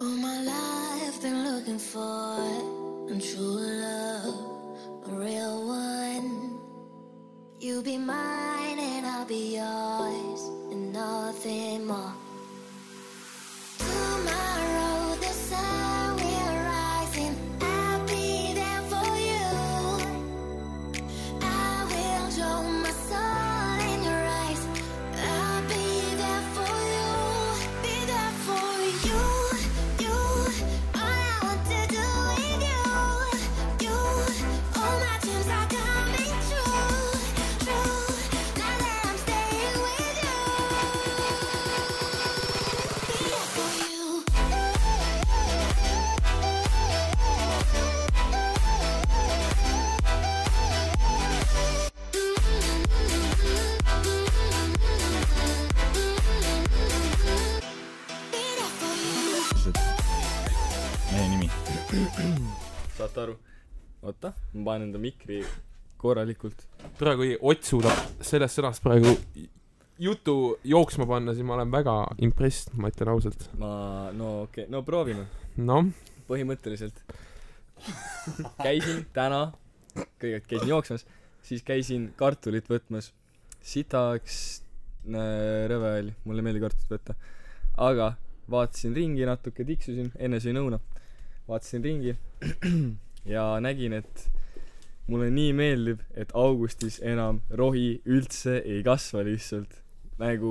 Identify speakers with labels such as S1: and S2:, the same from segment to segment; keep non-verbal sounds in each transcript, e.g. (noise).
S1: All my life been looking for a true love, a real one. You be mine and I'll be yours, and nothing more. Tomorrow the sun will rise and I'll be there for you. I will draw my soul in your eyes. I'll be there for you, be there for you, you. All I want to do with you, you. All my dreams are coming true, true. Now that I'm staying with you, be there for you. Be there for you.
S2: mehe nimi .
S3: saate aru ? oota , ma panen enda mikri korralikult .
S4: praegu ei otsu ta sellest sõnast praegu jutu jooksma panna , siis ma olen väga impressed , ma ütlen ausalt .
S3: ma , no okei okay. , no proovime .
S4: noh ,
S3: põhimõtteliselt käisin täna , kõigepealt käisin jooksmas , siis käisin kartulit võtmas . sitaks äh, rõve oli , mulle ei meeldi kartulit võtta . aga vaatasin ringi natuke , tiksusin , enne sõin õuna . vaatasin ringi (clears throat) ja nägin , et mulle nii meeldib , et augustis enam rohi üldse ei kasva lihtsalt . nagu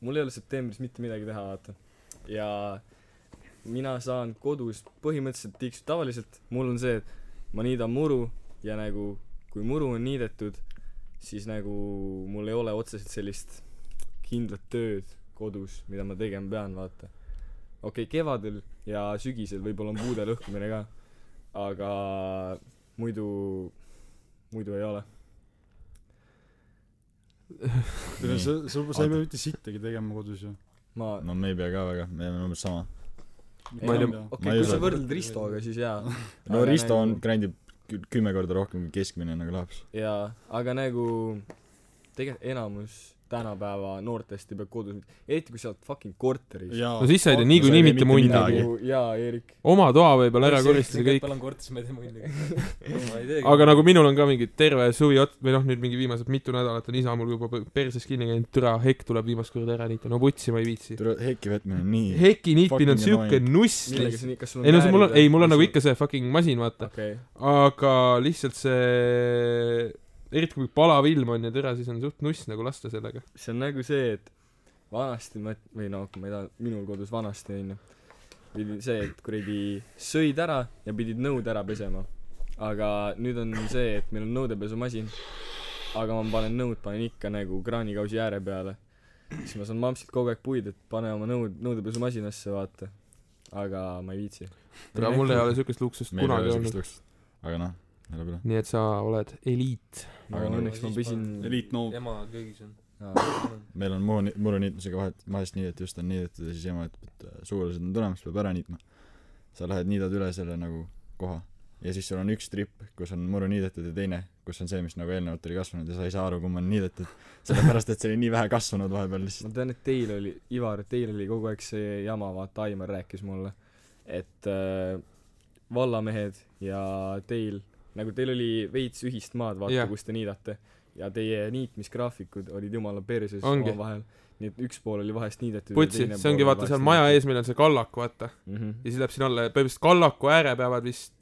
S3: mul ei ole septembris mitte midagi teha , vaata . ja mina saan kodus põhimõtteliselt tiksu , tavaliselt mul on see , et ma niidan muru ja nagu kui muru on niidetud , siis nagu mul ei ole otseselt sellist kindlat tööd kodus , mida ma tegema pean , vaata . okei okay, , kevadel ja sügisel võib-olla on puude lõhkumine ka , aga muidu , muidu ei ole .
S2: Nii.
S5: kuule sa , sa , sa ei pea mitte sittagi tegema kodus ju .
S3: ma ,
S2: no me ei pea ka väga , me oleme umbes sama .
S4: Ma
S2: ma
S3: okei
S4: ei tea-
S2: ei
S3: okay, , kui
S2: usu,
S3: sa
S2: et-
S3: võrdled Ristoga , siis jaa . nagu-
S2: no Risto on , grandib kü- kümme korda rohkem kui keskmine nagu laps .
S3: jaa , aga nagu tegelikult enamus tänapäeva noortest ei pea kodus , eriti kui sa oled fucking korteris .
S4: no siis sa ei tee niikuinii
S2: sa ei tee
S4: mitte
S2: mitte
S4: mundi
S2: midagi. .
S3: jaa , Eerik . (laughs)
S4: oma toa võib veel ära koristada kõik ,
S6: palan korteri , siis ma ei tee muidugi . ma ei teegi .
S4: aga nagu minul on ka mingi terve suvi ot- või noh , nüüd mingi viimased mitu nädalat on isa mul juba p- perses kinni käinud , türa hekk tuleb viimast korda ära niita , no vutsi ma ei viitsi .
S2: tule , Heiki võtmine on nii .
S4: heki niitmine on
S2: Fucking
S4: siuke nuss .
S3: millega
S4: ei
S3: sa nii , kas sul
S4: no see mul on , ei mul on nagu ikka see fucking masin , vaata .
S3: okei ,
S4: aga lihtsalt see , eriti kui palav ilm on ja tere , siis on suht nuss nagu lasta sellega .
S3: see on nagu see , et vanasti ma , või no kui ma ei taha , minul kodus vanasti onju , pidi see , et kuradi sõid ära ja pidid nõud ära pesema . aga nüüd on see , et meil on nõudepesumasin , aga ma panen nõud , panen ikka nagu kraanikausi ääre peale . siis ma saan mampsilt kogu aeg puid , et pane oma nõud nõudepesumasinasse , vaata . aga ma ei viitsi .
S4: tere , mul ei ole siukest luksust
S2: meil ei
S4: kunagi
S2: ole
S4: olnud
S2: siukest . luksus . aga noh , elab üle .
S4: nii et sa oled eliit .
S3: aga
S2: no
S3: no, õnneks ma
S6: siis
S3: pesin
S5: eliitnoor .
S6: ema köögis on .
S2: meil on muru , muru niitmisega vahet , vahest niidet just on niidetud ja siis ema ütleb , et äh, sugulased on tulemas , peab ära niitma . sa lähed , niidad üle selle nagu koha ja siis sul on üks tripp , kus on muru niidetud ja teine , kus on see , mis nagu eelnevalt oli kasvanud ja sa ei saa aru , kumb on niidetud . sellepärast , et see oli nii vähe kasvanud vahepeal lihtsalt .
S3: ma tean , et teil oli , Ivar , teil oli kogu aeg see jama , vaata Aimar rääkis mulle , et äh, vallamehed ja teil , nagu teil oli veits ühist maad , vaata
S4: Jah.
S3: yeah. kus te niidate . ja teie niitmisgraafikud olid jumala perses
S4: Ongi.
S3: omavahel . nii et üks pool oli vahest niidetud .
S4: putsi , see ongi vaata seal maja ees , meil on see kallak , vaata .
S3: mm . -hmm.
S4: ja siis läheb sinna alla ja põhimõtteliselt kallaku ääre peavad vist ,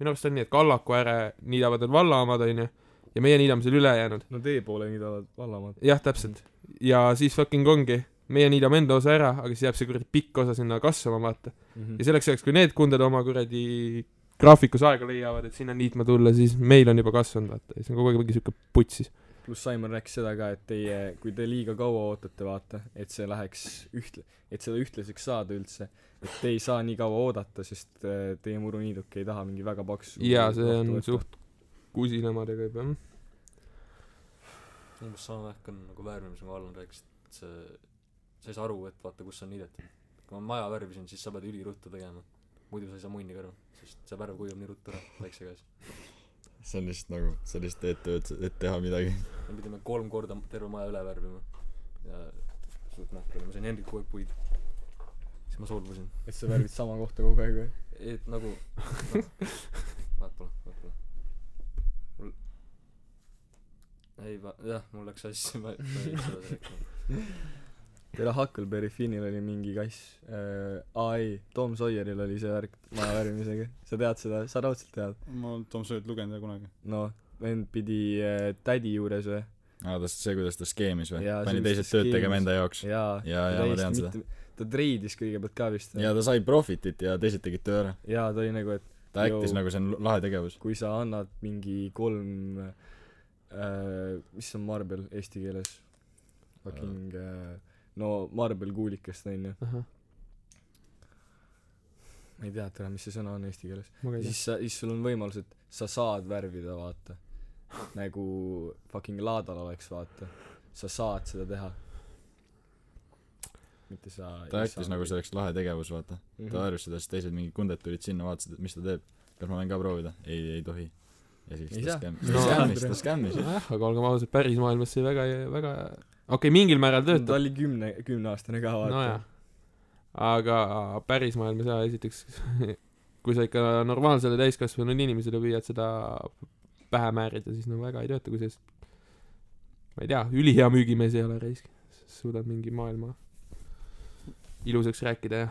S4: minu arust on nii , et kallaku ääre niidavad need valla omad , onju . ja meie niidame seal ülejäänud .
S3: no teie poole niidavad vallamaad .
S4: jah , täpselt . ja siis fucking ongi , meie niidame enda osa ära , aga siis jääb see kuradi pikk osa sinna kasvama , vaata .
S3: Mhm.
S4: ja selleks ajaks , kui need kunded oma kuradi graafikus aega leiavad , et sinna niitma tulla , siis meil on juba kasvanud , vaata , ja siis on kogu aeg mingi siuke putsis .
S3: pluss Aimar rääkis seda ka , et teie , kui te liiga kaua ootate , vaata , et see läheks üht- , et seda ühtlaseks saada üldse , et te ei saa nii kaua oodata , sest äh, teie muruniiduk ei taha mingi väga paksu
S4: ja see on
S3: rohtu võtta.
S4: suht kusinemadega juba , jah .
S6: umbes sama värk on nagu värvimisega , Allan rääkis , et see , sa ei saa aru , et vaata , kus on niidetud . kui ma maja värvisin , siis sa pead üliruttu tegema . muidu sa ei saa munni kõrva , sest see värv kujub nii ruttu ära väikse käes .
S2: see on lihtsalt nagu , sa lihtsalt teed tööd , et teha midagi .
S6: me pidime kolm korda terve maja üle värvima . ja suht nahk oli , ma sain Hendrik kogu aeg puid . siis ma solvusin .
S3: et sa värvid sama kohta kogu aeg või
S6: et nagu noh vaat pole vaat pole mul ei va- jah mul läks asja ma ma ei viitsi edasi rääkida
S3: teil Huckleberry Finnil oli mingi kass äh, aa ei Tom Sawyeril oli see värk maja värvimisega sa tead seda sa raudselt tead
S5: ma olen Tom Soolit lugenud ja kunagi .
S3: noh vend pidi äh, tädi juures või
S2: aa , Ah, ta , see , kuidas ta skeemis või
S3: Jaa, ? see,
S2: pani
S3: kuidas ta
S2: teised tööd tegema
S3: skeemis.
S2: enda jaoks .
S3: jaa
S2: Jaa, jaa, ma tean seda.
S3: ta treidis kõigepealt ka vist
S2: ja ta sai profitit ja teised tegid töö ära .
S3: jaa ta oli nagu et
S2: ta äktis
S3: Joo.
S2: nagu see on lahe tegevus .
S3: kui sa annad mingi kolm äh, mis on marbel eesti keeles fucking äh, no marbelkuulikest onju
S4: ahah ,
S3: ma ei tea täna mis see sõna on eesti keeles
S4: ma ka ei tea .
S3: siis sa siis sul on võimalus et sa saad värvida vaata nagu fucking laadal oleks vaata sa saad seda teha mitte sa
S2: ta äktis nagu see oleks lahe tegevus , vaata .
S3: Mhm.
S2: ta harjus seda , siis teised mingid kunded tulid sinna , vaatasid , et mis ta teeb . kas ma võin ka proovida ? ei , ei tohi . ja
S3: Ei
S2: siis ta
S3: saa.
S2: skäm- ,
S4: No.
S2: ta skämmis , ta skämmis .
S4: nojah , aga olgem ausad , päris maailmas see väga , väga okei okay, , mingil määral
S3: ta
S4: töötab ,
S3: oli kümne kümneaastane ka vaata
S4: nojah . aga päris maailmas jaa , esiteks (laughs) kui sa ikka normaalsele täiskasvanud inimesele püüad seda pähe määrida , siis no väga ei tööta , kui sa ma ei tea , ülihea müügimees ei ole raisk , suudad mingi maailma ilusaks rääkida ja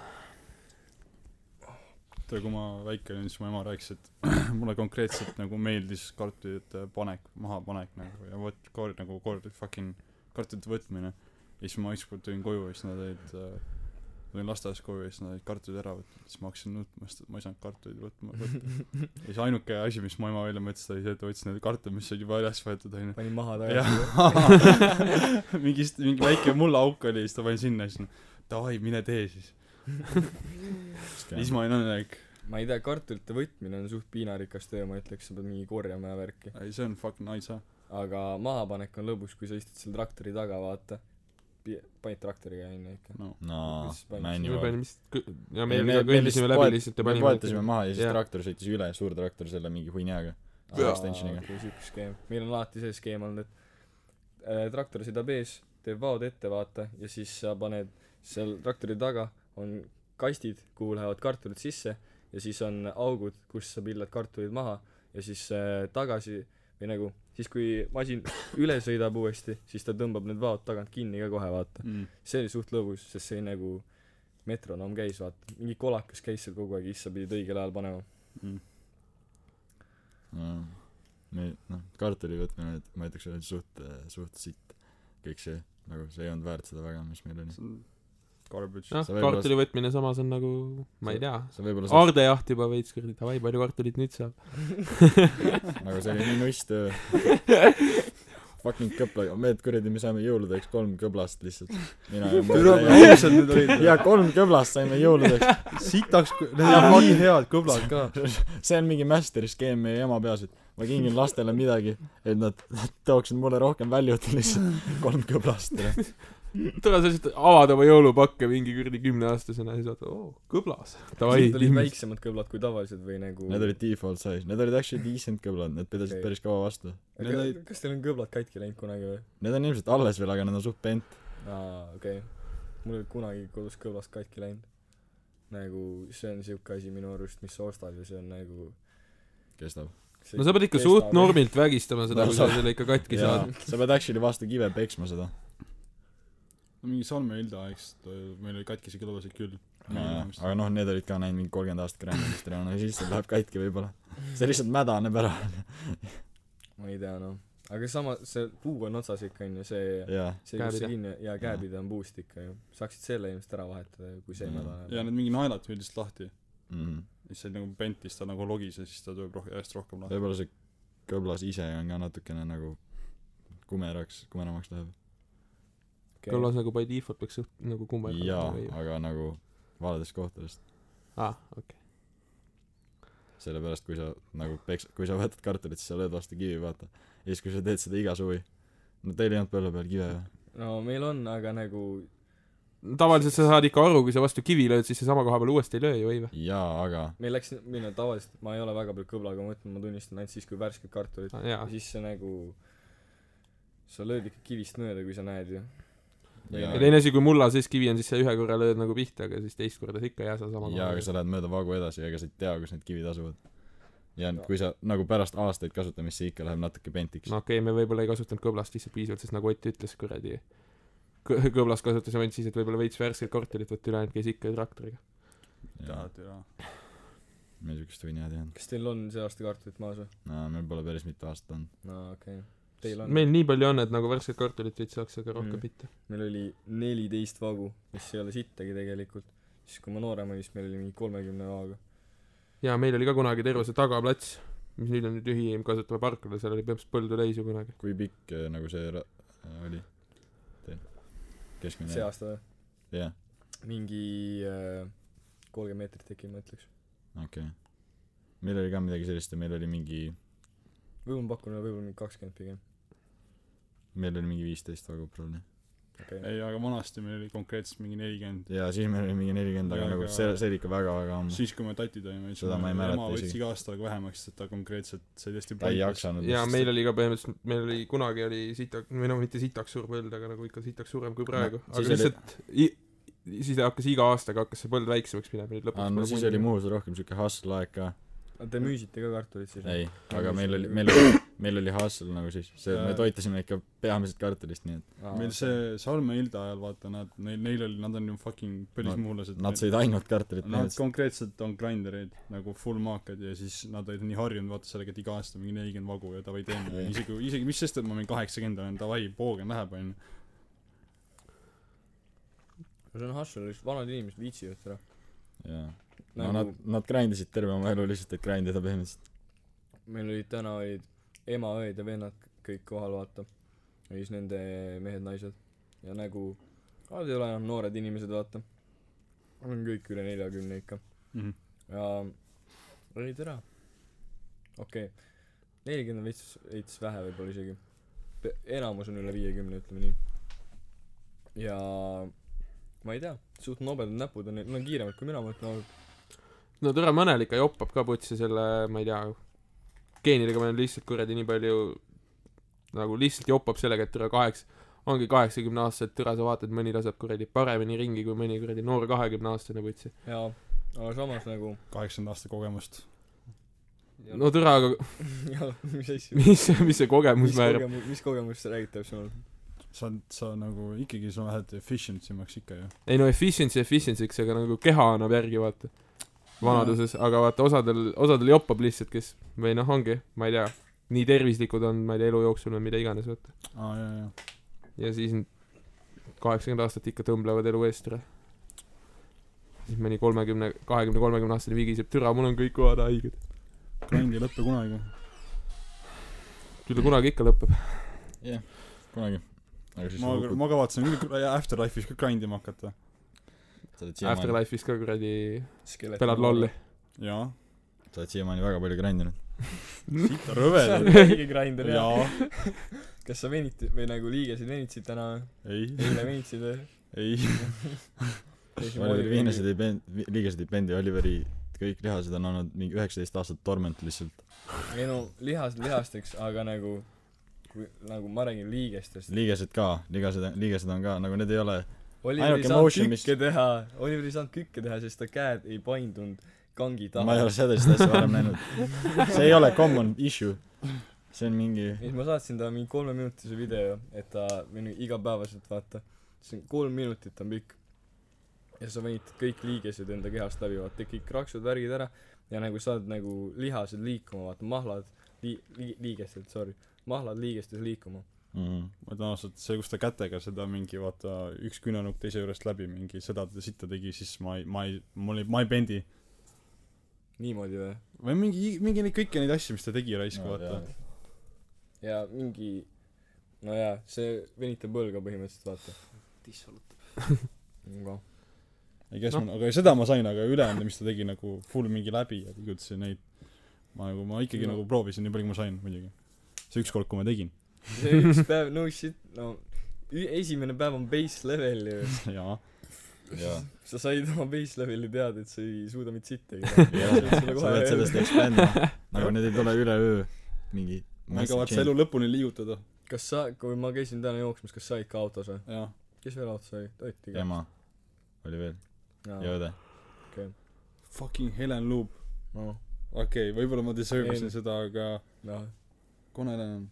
S5: tead , kui ma väike olin , siis mu ema rääkis , et (clears throat) mulle konkreetselt nagu meeldis kartulite panek , mahapanek nagu ja vot kord nagu kord fucking kartulite võtmine . ja siis ma ükskord tulin koju ja siis nad olid äh, tulin lasteaias koju ja siis nad olid kartulid ära võtnud , siis ma hakkasin nutma , sest et ma ei saanud kartuleid võtma
S6: (laughs)
S5: võtta . ja siis ainuke asi , mis mu ema välja mõtles , oli see , et ta võttis need kartulid , mis olid juba väljas võetud onju .
S3: pani maha
S5: jah
S3: tagasi ,
S2: (laughs)
S5: mingist , (laughs) mingi väike mullaauk oli ja siis ta pani sinna ja siis noh , davai , mine tee siis . ja siis ma olin õnnelik .
S3: ma ei tea kartulite võtmine on suht piinarikas töö ma ütleks sa pead mingi korjama ja värki
S5: ei , see on fucking nice ah." jah .
S3: aga mahapanek on lõbus kui sa istud seal traktori taga vaata Pi- panid traktoriga onju ikka
S5: no
S2: noo
S3: Kuidas , pani-
S2: man
S4: me
S2: you are
S4: panime lihtsalt ja me, me kõndisime läbi lihtsalt ja
S2: panime
S4: panime
S2: poetasime maha ja siis
S4: Jah.
S2: yeah. traktor sõitis üle , suur traktor selle mingi hunniaga .
S3: Aa,
S2: extensioniga.
S3: okei , siuke skeem . meil on alati see skeem olnud , et äh, traktor sõidab ees , teeb vaod ette , vaata , ja siis sa paned seal traktori taga on kastid , kuhu lähevad kartulid sisse ja siis on augud , kus sa pillad kartulid maha ja siis äh, tagasi või nagu siis , kui masin (coughs) üle sõidab uuesti , siis ta tõmbab need vaod tagant kinni ka kohe , vaata .
S2: (laughs)
S5: mm.
S3: see oli suht lõbus , sest see oli nagu metronoom käis , vaata , mingi kolakas käis seal kogu aeg , siis sa pidid õigel ajal panema .
S5: Mm.
S2: me noh , kartuli võtmine , et ma ütleks , oli suht , suht sitt . kõik see , nagu see ei olnud väärt seda väga , mis meil oli .
S5: see on garbage
S4: noh ,
S2: sa võib-olla-
S4: kartuli võtmine samas on nagu ma ei tea
S2: sa võib-olla saad
S4: aardejaht juba veits kuradi davai , palju kartulit nüüd saab
S2: nagu see oli nii nuss töö fucking kõpla , mehed kuradi , me saime jõuludeks kolm kõblast lihtsalt . mina ja
S5: türa kui
S2: mu
S5: ausad need olid
S2: ja kolm kõblast saime (laughs) jõuludeks ,
S4: (laughs)
S5: sitaks ku- need olid nii head kõblad ka
S2: see on mingi master skeem meie ema peas , et ma kingin lastele midagi , et nad nad tooksid mulle rohkem väljut lihtsalt kolm kõblast .
S4: tore , sa lihtsalt avad oma jõulupakke mingi kuradi kümneaastasena ja siis vaatad , oo , kõblas . davai
S3: Need , olid väiksemad kõblad kui tavaliselt või nagu
S2: Need olid default size , need olid actually decent kõblad , need pidasid okay.
S3: Okei.
S2: päris kaua vastu .
S3: aga
S5: Need olid-
S3: kas teil on kõblad katki läinud kunagi või
S2: Need on ilmselt alles veel , aga nad on suht pent .
S3: aa okei okay. mul ei olnud kunagi kodus kõblast katki läinud nagu see on siuke asi minu arust mis sa ostad ja see on nagu
S2: kestab .
S3: see
S4: no sa pead ikka
S3: kestab-
S4: suht normilt vägistama seda ,
S2: No
S4: kui sa
S2: sa-
S4: selle ikka katki
S2: jaa
S4: saad .,
S2: sa pead actually vastu kive peksma seda .
S5: no mingi Salme Hilda eks ta- meil oli katkisi kõlbasid küll
S2: aga noh , need olid ka näinud mingi kolmkümmend aastat kräämimist ja no siis see läheb katki võib-olla . see lihtsalt mädaneb ära
S3: ma ei tea noh aga sama see puu on otsas ikka onju see
S2: ja
S3: see kus
S4: Käepide.
S3: see kinni ja käepide on puust ikka ju saaksid selle ilmselt ära vahetada ju, kui see
S2: Mm.
S3: mädaneb
S5: ja need mingi naelad tulid lihtsalt lahti
S2: mm.
S5: siis see nagu pentis ta nagu logis ja siis ta tuleb roh- järjest rohkem lahti
S2: võib-olla see kõblas ise on ka natukene nagu kumeraks , kumeramaks läheb .
S3: Okei.
S4: kõlas nagu by default peaks suht- nagu kummardama .
S2: jaa , aga nagu valedest kohtadest .
S4: aa , okei .
S2: sellepärast , kui sa nagu peks- , kui sa võtad kartulit , siis sa lööd vastu kivi , vaata . ja siis , kui sa teed seda iga suvi . no teil ei olnud põlve peal kive või ?
S3: no meil on aga nagu
S4: tavaliselt sa saad ikka aru , kui sa vastu kivi lööd , siis sa sama koha peal uuesti ei löö ju , ei või ?
S2: jaa , aga
S3: meil läks mina tavaliselt ma ei ole väga palju kõblaga mõtlenud ma tunnistan ainult siis kui värsked kartulid
S4: Ah, jaa
S3: ja , siis see nagu sa lööd ikka kivist mööda kui sa näed ju
S2: ja
S4: ja , teine asi , kui mulla sees kivi on , siis sa ühe korra lööd nagu pihta , aga siis teist korda sa ikka ei jää seal sama
S2: ja aga sa lähed mööda vagu edasi ja ega sa ei tea , kus need kivid asuvad . ja kui sa nagu pärast aastaid kasutamist , see ikka läheb natuke pentiks .
S4: no okei okay, , me võib-olla ei kasutanud kõblast lihtsalt piisavalt , sest nagu Ott ütles , kuradi kõ- kõblast kasutasime ainult siis , et võib-olla veits värsket korterit võtta , ülejäänud käis ikka traktoriga .
S2: jaa ,
S5: türa .
S2: me siukest võini ei teadnud .
S3: kas teil on see aasta kartulit maas või ?
S2: no meil pole päris mitu aastat olnud .
S3: aa , okei okay. . Teil on ?
S4: meil nii palju on , et nagu värsket korterit veits saaks , aga rohkem
S3: Mm.
S4: mitte .
S3: meil oli neliteist vagu , mis ei ole sittagi tegelikult . siis kui ma noorem olin , siis meil oli mingi kolmekümne vagu .
S4: ja meil oli ka kunagi terve see tagaplats , mis nüüd on nüüd ühiim kasutame parkla , seal oli põhimõtteliselt põldu täis ju kunagi .
S2: kui pikk eh, nagu see ra- eh, oli teil ?
S3: see
S2: keskmine ?
S3: aasta või ?
S2: jah ,
S3: mingi äh, kolmkümmend meetrit äkki ma ütleks .
S2: okei . meil oli ka midagi sellist ja meil oli mingi ,
S3: võib-olla ma pakun , võib-olla mingi kakskümmend pigem .
S2: meil oli mingi viisteist vagu probleemi .
S3: okei okay. ,
S5: ei , aga vanasti meil oli konkreetselt mingi nelikümmend .
S2: ja siis meil oli mingi nelikümmend , aga
S5: Jaa,
S2: nagu
S5: aga-
S2: see , see oli ikka väga-väga ammu .
S5: siis , kui me tatid olime , siis
S2: Mhm. Seda ma ei
S5: mu ema
S2: mäleta
S5: võttis
S2: isegi.
S5: iga aasta nagu vähemaks , sest ta konkreetselt sai täiesti
S2: ta ei
S5: paigas.
S2: jaksanud .
S4: ja meil oli ka põhimõtteliselt , meil oli kunagi oli sita- , või no mitte sitaks suur põld , aga nagu ikka sitaks suurem kui praegu . aga
S2: siis oli-
S4: lihtsalt i- , siis hakkas iga aastaga hakkas see põld väiksemaks minema , nüüd
S2: aa , no
S4: lõpuks pole
S2: siis
S4: pundi
S2: oli
S4: enam.
S2: Muhus rohkem siuke hustle-aeg ka .
S3: aga te müüsite ka kartulit siis ?
S2: ei , aga meil oli , meil oli , meil oli hustle nagu siis , see , me
S5: Jaa.
S2: toitasime ikka peamiselt kartulist , nii et
S5: meil see Salme Hilda ajal vaata nad neil neil oli nad on ju fucking põlismuulased
S2: nad sõid ainult kartulit
S5: Nad
S2: põhimõtteliselt .
S5: konkreetselt on grinderid nagu full maakad ja siis nad olid nii harjunud vaata sellega , et iga aasta mingi nelikümmend vagu ja davai teeme
S2: Jah.
S5: isegi isegi mis sest , et ma mingi kaheksakümmend olen , davai poogen läheb onju
S3: see on hustle , lihtsalt vanad inimesed viitsivad seda .
S2: jaa . no
S3: nagu
S2: nad , nad grind isid terve oma elu lihtsalt , et grind ida põhimõtteliselt .
S3: meil olid täna olid ema , õed ja vennad kõik kohal , vaata . ja siis nende mehed-naised ja nagu , nad ei ole enam noored inimesed , vaata . on kõik üle neljakümne ikka
S5: Mhm.
S3: ja olid ära . okei okay. , nelikümmend on veits , veits vähe võib-olla isegi . enamus on üle viiekümne , ütleme nii . ja ma ei tea , suht nobedad näpud on neil , nad on kiiremad kui mina , ma ütlen ausalt .
S4: no tore mõnel ikka joppab ka putsi selle , ma ei tea , geenidega meil on lihtsalt kuradi nii palju nagu lihtsalt joppab sellega , et tore kaheks , ongi kaheksakümneaastased , tore sa vaatad , mõni laseb kuradi paremini ringi kui mõni kuradi noor kahekümneaastane putsi .
S3: jaa , aga samas nagu
S5: kaheksakümnenda aasta kogemust
S4: no tore , aga
S3: (laughs)
S4: (laughs)
S3: jaa , mis asja .
S4: mis , mis see kogemus
S3: mis
S4: määrab ?
S3: kogemus , mis kogemus sa räägid täpsemalt ?
S5: sa sa nagu ikkagi sa lähed efficient imaks ikka ju
S4: ei no efficiency efficiency'ks , aga nagu keha annab järgi , vaata . vanaduses , aga vaata osadel , osadel joppab lihtsalt , kes või noh , ongi , ma ei tea , nii tervislikud on , ma ei tea , elu jooksul või mida iganes , vaata .
S5: aa jaa jaa
S4: ja siis n- kaheksakümmend aastat ikka tõmblevad elu eest ära . siis mõni kolmekümne , kahekümne , kolmekümne aastane vigiseb , türa , mul on kõik kohad haiged .
S5: grind ei lõpe kunagi
S4: küll ta kunagi ikka lõpeb .
S2: jah , kunagi . aga siis
S5: ma
S2: ma, hukud ,
S5: ma kavatsen küll kr- Afterlife'is ka grind ima hakata
S2: sa oled siiamaani ,
S4: Afterlife'is ka kuradi
S3: skelet .
S4: pelad lolli ..
S5: jaa
S2: (laughs) sa oled siiamaani väga palju grind inud .
S5: sita
S3: (laughs)
S5: rõvedad
S2: (laughs)
S3: õige grinder jah .
S5: jaa
S3: kas sa venitad või nagu liigesid venitsid täna või ?
S5: ei
S3: eile venitsid või ? (laughs)
S5: ei
S2: Oliveri viinased ei peen- , liigesed ei pendi , Oliveri kõik lihased on olnud mingi üheksateist aastat torment lihtsalt .
S3: ei no lihased lihasteks , aga nagu kui nagu ma räägin liigestest .
S2: liigesed ka , liigesed , liigesed on ka , nagu need ei ole ,
S3: Oliver ei
S2: Ainuke
S3: saanud
S2: motion, mis-
S3: kükke teha , Oliver ei saanud kükke teha , sest ta käed ei paindunud kangi
S2: ma ei
S3: taha
S2: ole . sellist asja varem näinud . see ei ole common issue . see on mingi
S3: ja siis ma saatsin talle mingi kolmeminutise video , et ta minu igapäevaselt vaata , see on kolm minutit on pikk . ja sa venitad kõik liigesed enda kehast läbi , vaata kõik kraksud , värgid ära ja nagu saad nagu lihased liikuma , vaata mahlad lii- , lii- , liigesed , sorry , mahlad liigestes liikuma .
S2: mm . -hmm.
S5: ma ütlen ausalt , see , kus ta kätega seda mingi vaata , üks küünanukk teise juurest läbi mingi seda ta sitta tegi , siis ma ei , ma ei , mul ei , ma ei pendi .
S3: niimoodi või ?
S5: või mingi , mingi neid kõiki neid asju , mis ta tegi raisku
S2: No,
S5: no, , vaata .
S3: ja mingi , no jaa , see venitab õlga põhimõtteliselt , vaata . Nagu.
S6: dissalutab .
S3: (laughs) aga
S5: ei kes no. mul , aga seda ma sain , aga ülejäänud , mis ta tegi nagu full mingi läbi ja liigutasin neid . ma nagu , ma ikkagi
S3: No.
S5: no. nagu proovisin nii palju , kui ma sain muidugi . see ükskord , kui ma tegin . (laughs)
S3: see üks päev , no shit , no ü- esimene päev on base level ju .
S5: jaa .
S2: jaa .
S3: sa said oma base leveli teada , et sa ei suuda
S2: (laughs)
S3: mitte sittagi .
S2: jah , sa pead sellest expandima . nagu need ei tule üleöö mingi
S5: ma ei kavatse elu lõpuni liigutada .
S3: kas sa , kui ma käisin täna jooksmas , kas sa olid ka autos või ?
S5: jah .
S3: kes veel autos oli Ott iga
S2: ema oli veel ja õde
S5: Fucking Helen Loop
S3: noh
S5: okei okay, võibolla ma deserve isin
S3: Ei.
S5: seda aga
S3: noh
S5: kuna Helen on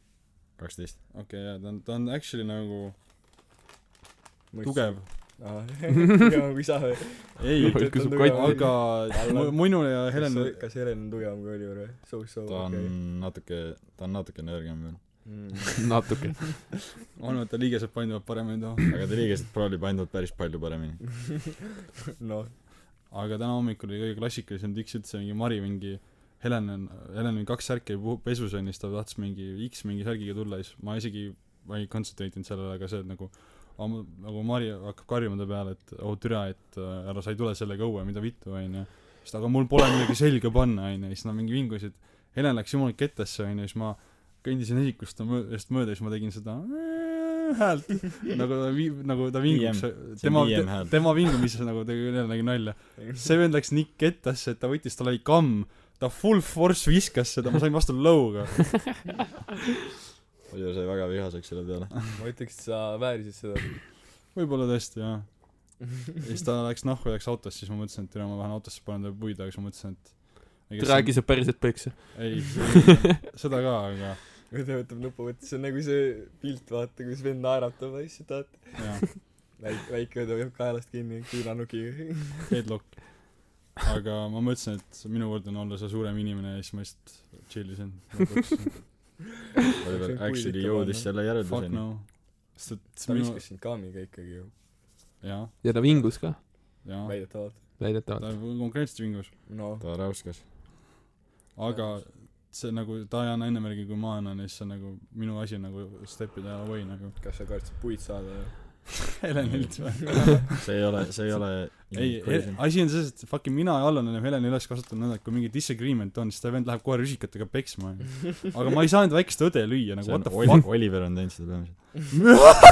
S2: kaksteist
S5: okei okay, jaa ta on ta on actually nagu tugev
S3: (laughs) tugevam kui sa või
S5: ei
S3: Mõtlesin, et
S4: kusub
S3: on tugev.
S5: aga mu- minu ja
S3: kas
S5: Helen
S3: kas Helen on tugevam kui Oliver või so so
S2: ta on natuke ta on natuke nõrgem veel
S3: okei
S4: (laughs) (laughs) natuke .
S5: on vaata liigesed panduvad paremini too
S2: aga ta liigesed probably panduvad päris palju paremini
S3: noh
S5: aga täna hommikul oli kõige klassikalisem tiks üldse mingi Mari mingi Helen on Helen on kaks särki puhu- pesus onju siis ta tahtis mingi X mingi särgiga tulla siis ma isegi ma ei kontsentreerinud sellele aga see et nagu am- nagu Mari hakkab karjuma ta peale et oo türa et äh, ära sa ei tule sellega õue mida vittu onju siis ta aga mul pole midagi selga panna onju siis nad mingi vingusid Helen läks jumala kettesse onju siis ma kõndisin esikust ta möö- just mööda siis ma tegin seda (laughs) häält nagu ta vi- nagu ta vinguks
S2: see
S5: tema
S2: on viiem hääl
S5: tema vingumises nagu tegelikult nägi nalja see vend läks nii kettasse et ta võttis tal oli kamm ta full force viskas seda ma sain vastu lõuga
S2: Oliver sai väga vihaseks selle peale
S3: ma ütleks et sa väärisid seda
S5: võibolla tõesti jah ja siis ta läks nahku ja läks autosse siis ma mõtlesin et tere ma lähen autosse panen talle puid aga siis ma mõtlesin et ei, kes
S4: ta rääkis , et päriselt peksa .
S5: siin- ei seda ka aga
S3: õde võtab nupuvõtte see on nagu see pilt vaata kus vend naeratab ja siis ta
S5: jah
S3: väike väike õde hoiab kaelast kinni küüranukiga
S5: headlock aga ma mõtlesin et minu kord on olla see suurem inimene ja siis ma lihtsalt (laughs) chillisin lõpuks
S2: Oliver
S3: See on
S2: actually
S3: puid ikka
S2: jõudis
S3: panna.
S2: selle
S5: fuck
S2: järelduseni
S5: no sest et
S3: ta
S5: minu
S3: viskas sind kaamiga ikkagi ju
S5: jah
S4: ja ta vingus ka ,
S2: Noh.
S5: jah
S3: väidetavalt
S5: ta
S4: väidetavalt .
S5: konkreetselt vingus
S3: noh
S2: ta räuskas
S5: aga see nagu ta ei anna enne märgi kui ma annan ja siis see on nagu minu asi on nagu step ida away nagu (laughs)
S3: kas sa kartsid puid saada või
S5: Helenilt või
S2: (laughs) see ei ole see ei ole
S5: (laughs) ei eh,
S2: inclusion.
S5: asi on selles et fucking mina ja Allan oleme Heleni üles kasvatanud nõnda et kui mingi disagreement on siis see vend läheb kohe rüsikatega peksma
S2: (laughs)
S5: onju aga ma ei saanud väikest õde lüüa nagu
S2: see on
S5: what the
S2: Oli-
S5: fuck
S2: Oliver on teinud seda peamiselt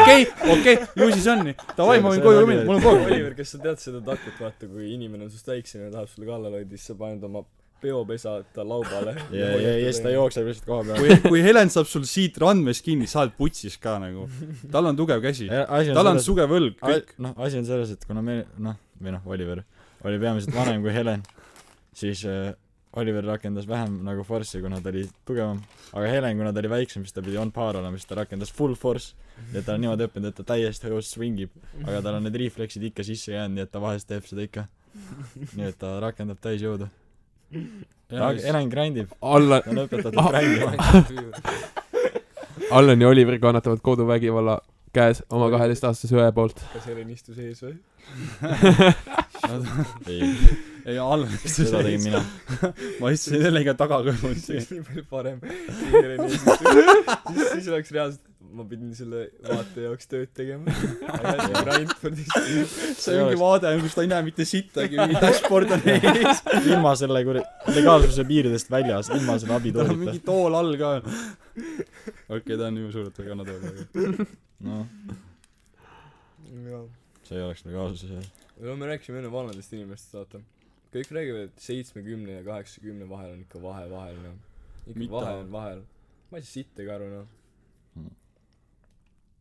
S5: okei okei ju siis on
S2: (laughs)
S5: nii davai
S2: See-
S5: ma võin
S2: see
S5: koju
S2: oli-
S5: minna mul on
S3: Oliver
S5: kogu ,
S3: kas sa tead seda taktikat , vaata , kui inimene on sinust väiksem ja tahab sulle kallale hoida , siis sa paned oma peopesa ta laubale .
S2: (laughs) ja ja ja siis ta jookseb lihtsalt koha peale
S5: kui kui Helen saab sul siit randmes kinni sa oled putsis ka nagu tal on tugev käsi
S2: Ja asi on
S5: tal on
S2: selles-
S5: sugev õlg
S2: A-
S5: kõik
S2: noh , asi on selles , et kuna me noh , või noh , Oliver oli peamiselt vanem kui Helen , siis äh, Oliver rakendas vähem nagu forssi , kuna ta oli tugevam , aga Helen , kuna ta oli väiksem , siis ta pidi on paar olema , siis ta rakendas full force ja ta on niimoodi õppinud , et ta täiesti õhus swingib , aga tal on need refleksid ikka sisse jäänud , nii et ta vahest teeb seda ikka . nii et ta rakendab täis jõudu . ta Helen grindib ,
S4: (laughs) Allan ,
S2: ta on
S5: Ah.
S2: õpetatud grindima .
S4: Ah! (laughs) Allan ja Oliver kannatavad koduvägivalla käes oma kaheteistaastase õe poolt .
S3: kas Helen istus ees
S2: (laughs)
S3: või ?
S2: ei ,
S5: ei Allan istus
S2: seda tegin mina .
S5: ma istusin sellega tagakõrvuti
S3: see oleks nii palju parem .
S2: (laughs)
S3: siis , siis oleks reaalselt , ma pidin selle vaate jaoks tööd
S2: (laughs)
S3: tegema . Reinfordis .
S5: see ongi vaade on kus ta ei näe mitte sittagi mingi dashboard on ees
S2: ilma selle kuradi legaalsuse piiridest väljas , ilma selle
S5: tal on mingi
S2: abitoolita .
S5: tool all ka okei ta on nii suur et ta ei kanna tööle aga
S2: noh , see ei oleks nagu legaalsuse sees .
S3: no me rääkisime enne vanadest inimestest , vaata . kõik räägivad , et seitsmekümne ja kaheksakümne vahel on ikka vahe vahel , noh . ikka
S5: Mida?
S3: vahe on vahel . ma ei saa sittagi aru , noh .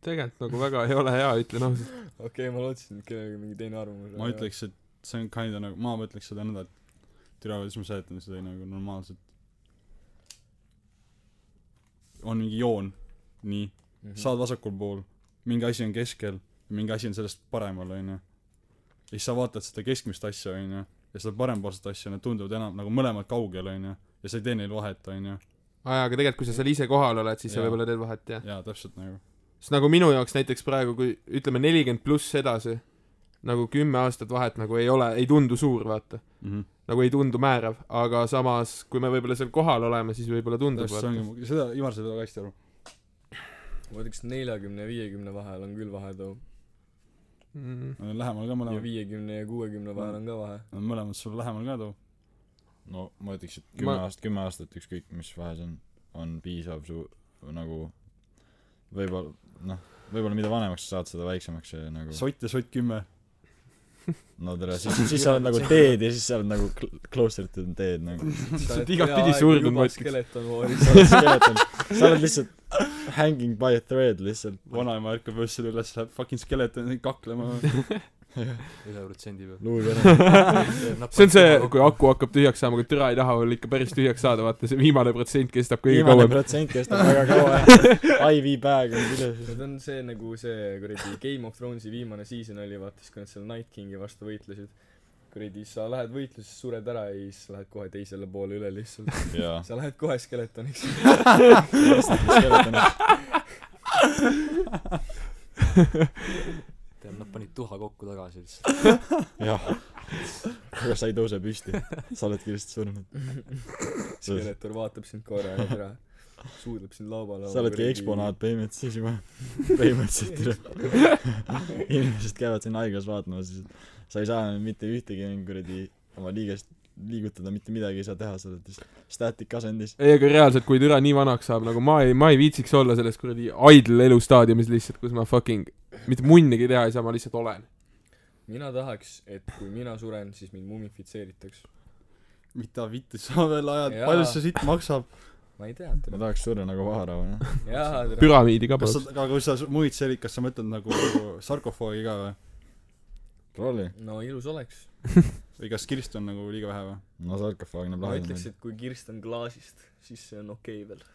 S4: tegelikult nagu väga ei ole hea , ütlen ausalt .
S3: okei okay, , ma lootsin , et kellelgi mingi teine arvamus
S5: ma . ütleks et see on kinda nagu ma mõtleks seda nõnda et türa kuidas ma seletan seda nagu normaalselt on mingi joon nii
S3: Mhm.
S5: sa oled vasakul pool mingi asi on keskel ja mingi asi on sellest paremal onju ja siis sa vaatad seda keskmist asja onju ja seda parempoolset asja need tunduvad enam nagu mõlemad kaugel onju ja sa ei tee neil vahet onju
S4: aa jaa , aga tegelikult , kui sa seal ise kohal oled , siis sa
S5: Jaa.
S4: võib-olla teed vahet , jah .
S5: jaa täpselt nagu
S4: sest nagu minu jaoks näiteks praegu , kui ütleme nelikümmend pluss edasi , nagu kümme aastat vahet nagu ei ole , ei tundu suur , vaata .
S5: mhmh
S4: nagu ei tundu määrav , aga samas , kui me võib-olla seal kohal oleme , siis võib-olla tundub ,
S5: täpselt see
S4: vaata .
S5: ongi seda Ivar saab väga hästi aru
S3: ma ütleks neljakümne ja viiekümne vahel on küll vahe too .
S4: Mm.
S5: nad on lähemal ka
S3: ja
S5: mõlemad
S3: viiekümne ja kuuekümne vahel on ka vahe .
S5: nad on mõlemad sul lähemal ka too
S2: no ma ütleks , et kümme
S4: Ma-
S2: aastat , kümme aastat , ükskõik mis vahe see on , on piisav su nagu võib-olla noh , võib-olla mida vanemaks sa saad , seda väiksemaks see nagu
S5: sott ja sott kümme
S2: no tere , siis , siis sa oled nagu teed ja siis sa oled nagu cl- closer to the dead nagu .
S4: oled igatpidi surnud, ma
S3: ma
S4: ütleks.
S3: ütleks . skeleton vooris .
S2: sa oled skeleton , sa oled lihtsalt hanging by a thread lihtsalt .
S5: vanaema ärkab öösel üles , läheb fucking skeletoni (laughs) kaklema .
S6: ühe protsendi peal .
S2: luul ära .
S4: see on see , kui . aku hakkab tühjaks saama , kui türa ei taha veel ikka päris tühjaks saada , vaata see viimane protsent kestab kõige
S2: viimane
S4: kauem .
S2: protsent kestab väga kaua . IV bag on küljes .
S3: Nad on see nagu see kuradi Game of Thronesi viimane season oli vaata siis kui nad seal Night Kingi vastu võitlesid kuradi sa lähed võitlusesse sured ära ja siis lähed kohe teisele poole üle lihtsalt
S5: (laughs)
S2: jaa .
S3: sa lähed kohe skeletoniks
S2: noh.
S6: tead , nad panid tuha kokku tagasi lihtsalt .
S2: jah . aga sa ei tõuse püsti . sa oled kindlasti surnud .
S3: skeletor vaatab sind korra ja ära suudleb sind laua laua
S2: sa oledki eksponaat põhimõtteliselt juba . (laughs) põhimõtteliselt üle . inimesed käivad siin haiglas vaatamas , siis sa ei saa mitte ühtegi kuradi oma liigest liigutada , mitte midagi ei saa teha , sa oled lihtsalt static asendis .
S4: ei , aga reaalselt , kui türa nii vanaks saab , nagu ma ei , ma ei viitsiks olla selles kuradi idle elustaadiumis lihtsalt , kus ma fucking mitte munnigi teha ei saa , ma lihtsalt olen .
S3: mina tahaks et kui mina suren siis mind mumifitseeritaks
S5: mida vittu sa veel ajad ,
S3: Jaa.
S5: palju see siit maksab ?
S3: ma ei tea
S2: ma tahaks surra nagu vaharau , noh .
S3: (laughs) jaa tere
S4: püramiidi ka
S5: kas sa
S4: palun .,
S5: aga kui sa muid seli- , kas sa mõtled nagu sarkofoogi ka või ?
S2: trolli .
S3: no ilus oleks
S5: või kas kirst on nagu liiga vähe või ?
S2: no nagu sarkofaag näeb
S3: ma
S2: lahe
S3: ütleks et kui kirst on klaasist siis see on okei okay veel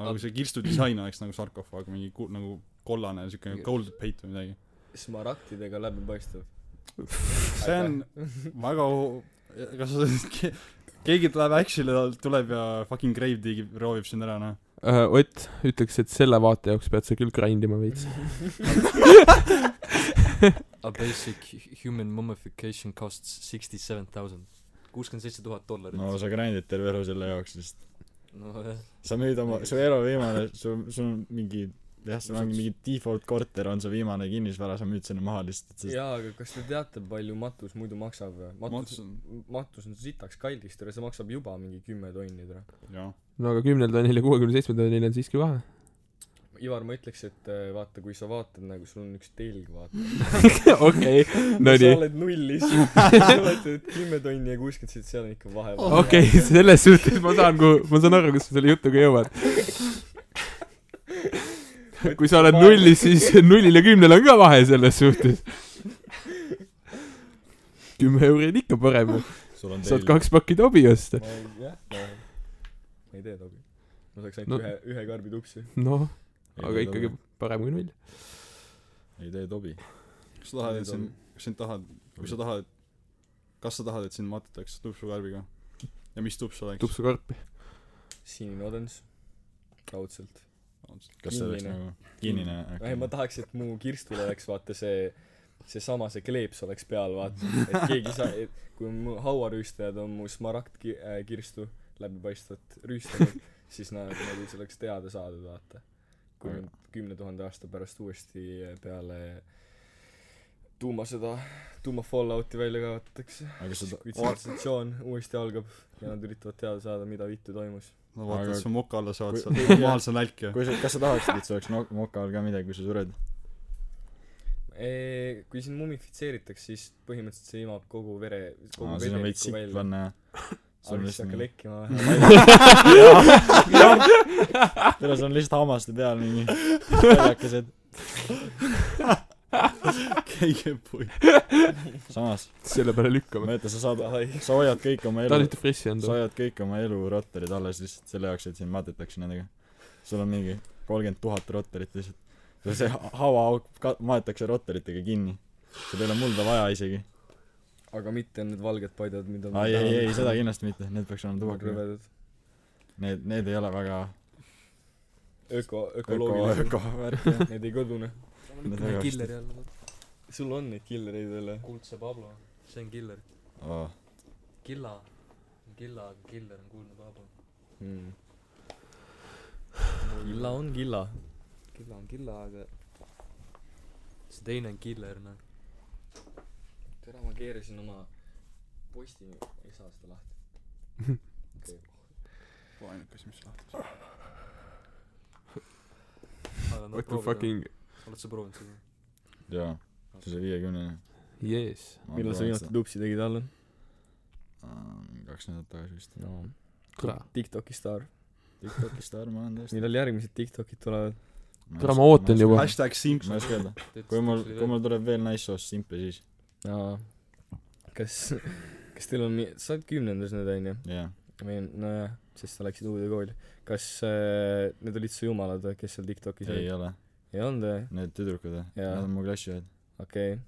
S5: aga kui see kirstu disain oleks nagu sarkofaag , mingi ku- , nagu kollane siuke gold plate või midagi .
S3: smaragdidega läbipaistev
S5: (laughs) see on väga hu- , kas sa , (laughs) keegi tuleb action'ile , tuleb ja fucking grave digib , roovib sind ära , noh .
S4: Äh, Ott ütleks , et selle vaate jaoks pead sa küll grind ima veits .
S6: A basic hu- human mummification costs sixty seven thousand . kuuskümmend seitse tuhat dollarit .
S2: no sa grind'id terve elu selle jaoks lihtsalt
S6: nojah ,
S2: sa müüd oma su elu viimane su sul on mingi jah sul ongi mingi default korter on su viimane kinnisvara sa müüd selle maha lihtsalt sest
S3: jaa , aga kas te teate , palju matus muidu maksab või ? matus
S5: Matus on- ,
S3: matus on sitaks kallis , tere , see maksab juba mingi kümme tonni , tere .
S5: jah .
S4: no aga kümnel tonnil ja kuuekümne seitsmel tonnil on siiski vahe .
S3: Ivar , ma ütleks , et äh, vaata , kui sa vaatad nagu , sul on üks telg , vaata .
S4: (laughs) okei , (laughs) no
S3: sa
S4: nii .
S3: oled
S5: (laughs)
S3: nullis . (laughs) vaata , et kümme tonni ja kuuskümmend seitse , seal on ikka vahe .
S5: Oh.
S4: okei , selles suhtes ma saan , ma saan aru , kus sa selle jutuga jõuad . kui sa oled nullis , siis nullil ja kümnel on ka vahe selles suhtes . kümme euri on ikka parem ,
S2: sul on
S4: saad kaks pakki tobi osta .
S3: ma ei , jah , ma , ma ei tee tobi . ma saaks
S4: No-
S3: ainult ühe , ühe karbi tupsi .
S4: noh ,
S2: Ei
S4: aga
S2: tee
S4: ikkagi
S2: tobi.
S4: parem kui null .
S2: ei tee tobi
S5: kas sa tahad , et sind , kas sind tahad , kui sa tahad , kas sa tahad , et sind matatakse tupsukarbiga ? ja mis tups oleks ?
S4: tupsukarpi .
S3: sinine odens . raudselt .
S2: kas see oleks
S3: Kinnine.
S2: nagu kinnine
S3: ei , ma tahaks , et mu kirstul oleks vaata see , seesama , see kleeps oleks peal , vaata . et keegi ei saa , et kui mu hauarüüstajad on mu smaragdki- , äh, kirstu läbipaistvat rüüstanud , siis nad nagu see oleks teada saadud , vaata . kui
S2: Aga-
S3: nüüd kümne tuhande aasta pärast uuesti peale tuumasõda , tuuma Fallouti välja kaevatakse ,
S2: aga kas sa ta-
S3: kui tsivilisatsioon uuesti algab ja nad üritavad teada saada , mida vittu toimus .
S5: no vaata ,
S2: Aga-
S5: et sa moka alla saad ,
S2: kui-
S5: sa oled normaalse nälk ja
S2: kui sa kas sa tahaksid et see oleks nok- moka all ka midagi kui sa sured
S3: Eee, Eh, kui sind mumifitseeritakse , siis põhimõtteliselt see imab kogu vere , kogu
S2: aa siis on äh, veits
S3: vedeliku
S2: sikk
S3: välja .
S2: panna sul
S3: aga
S2: on
S3: siis
S2: lihtsalt
S3: hakka
S2: mingi-
S3: lekkima
S2: (laughs) tere sul on lihtsalt hammaste peal mingi
S5: (laughs)
S2: väljakesed
S5: keegi ei pui- .
S2: samas
S4: selle peale lükkame .
S2: mõtle sa saad
S3: vähe .
S2: sa hoiad kõik oma
S4: ta
S2: elu
S4: on ühte fressi
S2: sa
S4: andnud .
S2: hoiad kõik oma elu rotterid alles lihtsalt selle jaoks , et sind matetakse nendega . sul on mingi kolmkümmend tuhat rotterit lihtsalt . ja see ha- haavaauk ka- , maetakse rotteritega kinni . sul ei ole mulda vaja isegi .
S3: aga mitte need valged paidad , mida ma
S2: ei , ei ,
S3: tahan.
S2: ei , seda kindlasti mitte , need peaks olema tubakaga .
S3: rõvedad .
S2: Need , need ei ole väga
S3: öko ,
S2: öko ,
S3: ökoloogilised .
S2: öko
S3: (laughs)
S2: värk jah .
S3: Need ei kodune .
S2: Need väga
S6: killer jälle ,
S3: noh. sul on neid killereid jälle ?
S6: kuldse Pablo , see on killer . Killa , Killa , aga killer on kuldne Pablo .
S2: Hmm.
S3: killa on killa .
S6: Killa on Killa , aga see teine on killer , noh .
S3: tere , ma keerasin oma posti , ei saa seda lahti .
S5: ainuke asi , mis lahti saab .
S6: aga noh
S4: What the , fucking ,
S6: oled sa proovinud seda ?
S2: jaa , see oli viiekümnene .
S4: yes .
S3: millal sa viimati tupsi tegid , Allan ?
S2: kaks nädalat tagasi vist .
S3: no ,
S4: kurat .
S3: Tiktoki staar .
S2: Tiktokist armu on tõesti .
S3: millal järgmised Tiktokid tulevad ?
S4: Tere, ma ootan juba.
S2: ma
S5: hashtag simp-
S2: ei oska öelda , kui mul , kui mul tuleb veel naissoost simpe , siis
S3: aa . kas , kas teil on , sa oled kümnendas nüüd onju ?
S2: jah .
S3: või nojah , sest sa läksid uude kooli . kas äh, need olid su jumalad või , kes seal Tiktokis
S2: ei
S3: olid ?
S2: ole ,
S3: ei olnud või ?
S2: need tüdrukud ,
S3: Jaa.
S2: nad on mu klassiõed .
S3: okei okay. .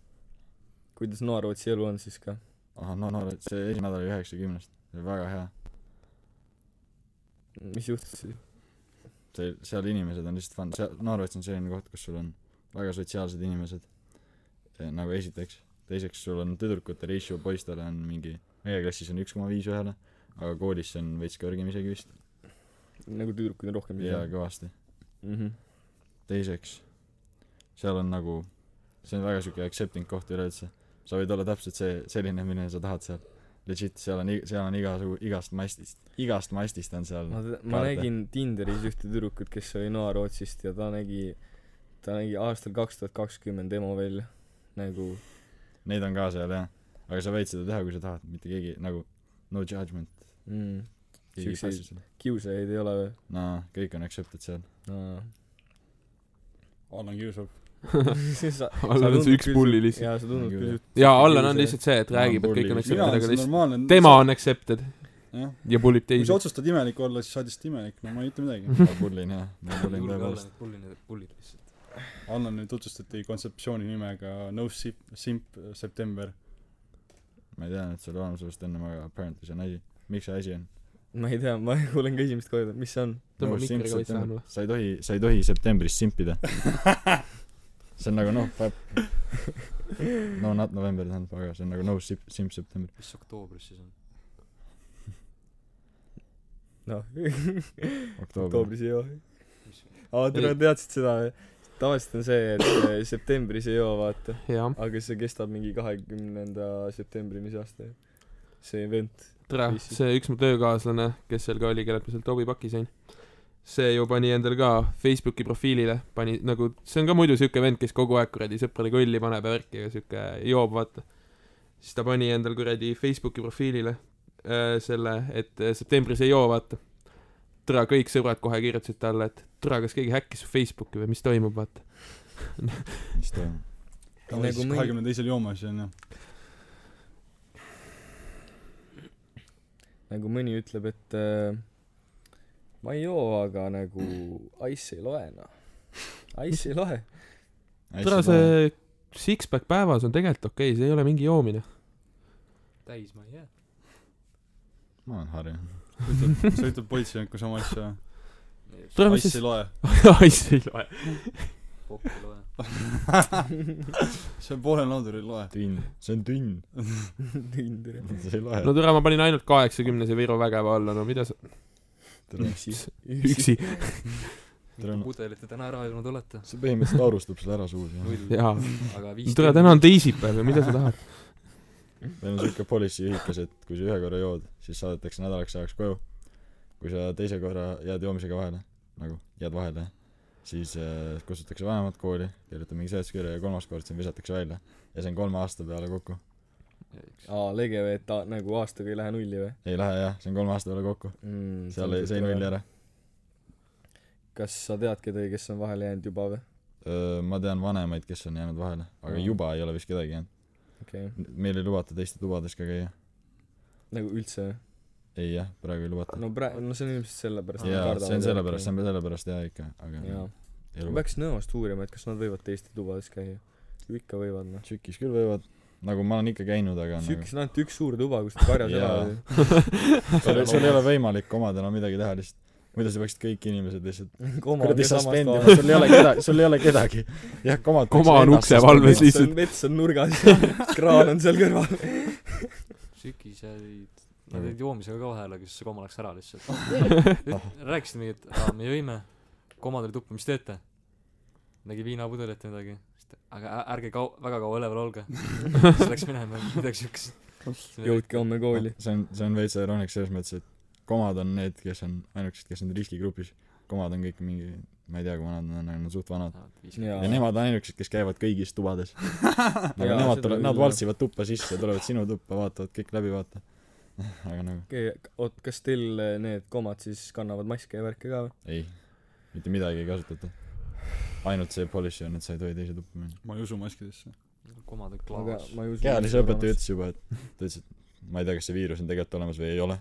S3: kuidas Noa-Rootsi elu on siis ka ?
S2: ahah , no , no see esimene nädal oli üheksakümnest , see oli väga hea .
S3: mis juhtus siis ?
S2: see , seal inimesed on lihtsalt fun , seal , Norveits on selline koht , kus sul on väga sotsiaalsed inimesed , nagu esiteks . teiseks , sul on tüdrukute ratio poistele on mingi , meie klassis on üks koma viis ühele , aga koolis see on veits kõrgem isegi vist ,
S3: nagu tüdrukuid on rohkem . Mhm.
S2: jaa , kõvasti .
S3: mhmh .
S2: teiseks , seal on nagu , see on väga siuke accepting koht üleüldse . sa võid olla täpselt see , selline , milline sa tahad seal . Legit , seal on , seal on igasugu , igast mastist , igast mastist on seal
S3: ma , ma
S2: Kaarte.
S3: nägin Tinderis ühte tüdrukut , kes oli Noa-Rootsist ja ta nägi , ta nägi aastal kaks tuhat kakskümmend emo välja . nagu ,
S2: neid on ka seal jah . aga sa võid seda teha , kui sa tahad , mitte keegi nagu no judgment .
S3: mm,
S2: keegi ei
S3: Siukseid-
S2: passi sulle .
S3: kiusajaid ei ole või ?
S2: no kõik on accepted seal .
S3: aa .
S5: Allan kiusab
S4: Allan on see üks pulli lihtsalt .
S3: jaa , sa tundud
S2: Nagu
S3: küll
S2: jah.
S3: suht-
S4: jaa , Allan on
S3: see-
S4: lihtsalt see , et räägib , et kõik on
S2: Mina
S5: mina
S4: accepted ,
S5: olen
S4: aga
S5: see
S4: lihtsalt
S5: normaalne
S4: tema on accepted
S5: jah
S4: ja pullib
S5: kui
S4: teisi
S5: sa . otsustad imelik olla siis sa oled lihtsalt imelik no ma ei ütle midagi
S4: (laughs)
S2: ma pullin jah , ma pullin
S6: julge olla
S2: tõepoolest .
S6: need pullid , need pullid lihtsalt .
S5: Allan nüüd tutvustati kontseptsiooni nimega No Simp Simp September
S2: ma ei teadnud , et see oli olemas just ennem , aga apparently see on asi . miks see asi on ?
S3: ma ei tea , ma (laughs) kuulen ka esimest korda , mis see on ?
S4: tõmba mikriga veits lähemale .
S2: Nagu sa ei tohi , sa ei tohi septembris simpida . see on nagu noh , no not november tähendab , aga see on nagu no simp , simp september .
S6: mis oktoobris siis on ?
S2: (laughs)
S3: noh ,
S2: oktoober .
S3: oktoobris ei joo . aa , tere , teadsid seda või ? tavaliselt on see , et eh, septembris ei joo , vaata .
S4: jah ,
S3: aga see kestab mingi kahekümnenda septembrini see aasta . see event .
S4: tere ,
S3: Mis siis?
S4: see üks mu töökaaslane , kes seal ka oli , kellelt ma seal Toobi pakki sain , see ju pani endale ka Facebooki profiilile , pani nagu , see on ka muidu siuke vend , kes kogu aeg kuradi sõprade kolli paneb ja värki ja siuke joob , vaata . siis ta pani endale kuradi Facebooki profiilile äh, selle , et äh, septembris ei joo , vaata . tere , kõik sõbrad kohe kirjutasid talle , et tere , kas keegi häkkis su Facebooki või mis toimub , vaata .
S2: mis toimub ?
S5: tavaliselt
S3: Nagu
S5: siis
S3: mõni-
S5: kahekümne teisel joomas noh, onju
S3: nagu mõni ütleb , et äh, ma ei joo , aga nagu ice ei loe noh . Ice ei loe . (laughs)
S4: tere , see six-pack päevas on tegelikult okei okay, , see ei ole mingi joomine .
S6: täis ma ei jää .
S2: ma olen harjunud .
S5: ütleb sa ütled politseinikku sama asja
S4: tere , mis (laughs)
S5: Ice
S4: siis
S5: ei ? loe
S4: ice ei loe .
S6: kokku ei
S3: (laughs)
S6: loe .
S5: see on poole laudur ei loe
S2: tünn , see on tünn , (laughs)
S3: Tinder .
S2: see ei loe
S4: no . tere , ma panin ainult kaheksakümnese Viru vägeva alla , no mida sa ,
S3: üksi .
S4: üksi .
S2: Tere, no-
S6: pudelit te täna ära ei olnud olete .
S2: see põhimõtteliselt taurustab selle ära suus jah .
S6: muidugi ,
S4: jaa .
S6: aga viis
S4: tere , täna on teisipäev ja mida sa tahad ?
S2: meil on siuke policy ühikas , et kui sa ühe korra jood , siis saadetakse nädalaks ajaks koju . kui sa teise korra jääd joomisega vahele , nagu jääd vahele , siis äh, kutsutakse vanemad kooli , kirjutab mingi seletuskirja ja kolmas kord sind visatakse välja . ja see on kolme aasta peale kokku .
S3: aa , lege või , et ta nagu aastaga ei lähe nulli või
S2: ei lähe jah , see on kolme aasta peale kokku .
S3: mm, ?
S2: seal ei , see ei nulli . ära .
S3: kas sa tead kedagi , kes on vahele jäänud juba või ?
S2: ma tean vanemaid , kes on jäänud vahele , aga
S3: Mm.
S2: juba ei ole vist kedagi jäänud .
S3: okei okay. ,
S2: meil ei lubata teiste tubades ka käia .
S3: nagu üldse või ?
S2: ei jah , praegu ei lubata .
S3: no praegu , no see on ilmselt sellepärast .
S2: jaa , see on sellepärast , see on sellepärast jaa ikka , aga
S3: jaa .
S2: ei
S3: ma peaks Nõost uurima , et kas nad võivad teiste tubades käia . ju ikka võivad noh .
S2: tsükis küll võivad , nagu ma olen ikka käinud , aga
S3: Sükis on ainult üks suur tuba , kus nad karjas
S2: nagu- Jaa.
S3: elavad ju .
S2: (laughs) nagu seal , seal ei ole võimalik omadena midagi teha lihtsalt . muidu sa peaksid kõik inimesed lihtsalt kuradi suspendima , sul ei ole kedagi , sul ei ole kedagi . jah , komad .
S4: Koma on ukse valves
S3: (laughs) mets
S4: lihtsalt
S3: on , mets on nurgas , kraan on seal kõrval .
S2: (laughs)
S6: sükis jäid , nad jäid joomisega ka vahele , aga siis see koma läks ära lihtsalt
S2: Ah. .
S6: Äh, rääkisid mingi , et aa , me jõime , koma tuli tuppa , mis teete ? nägi viinapudelit või midagi , siis ta , aga ä- ärge kau- , väga kaua üleval olge . (laughs) siis läks minema , midagi siukest .
S3: jõudke homme kooli .
S2: see on , see on veits iroonik selles mõttes , et komad on need , kes on ainukesed , kes on riskigrupis . komad on kõik mingi , ma ei tea , kui vanad nad on , aga nad on suht vanad .
S3: jaa
S2: ja , nemad on ainukesed , kes käivad kõigis
S3: (laughs)
S2: tubades . aga
S3: Jaa,
S2: nemad tulevad ,
S3: seda küll,
S2: nad
S3: jah.
S2: valtsivad tuppa sisse , tulevad sinu tuppa , vaatavad kõik läbi , vaata . (laughs) aga nagu
S3: oot , kas teil eh, need komad siis kannavad maske ja värke ka või ?
S2: ei , mitte midagi ei kasutata . ainult see polish on , et sa ei tohi teise tuppa minna .
S5: ma ei usu
S4: (laughs)
S5: maskidesse .
S6: komad on
S3: aga
S6: klaas .
S3: ma ei usu .
S2: kehalise õpetaja ütles juba , et ta ütles , et ma ei tea , kas see viirus on tegelikult olemas või ei ole .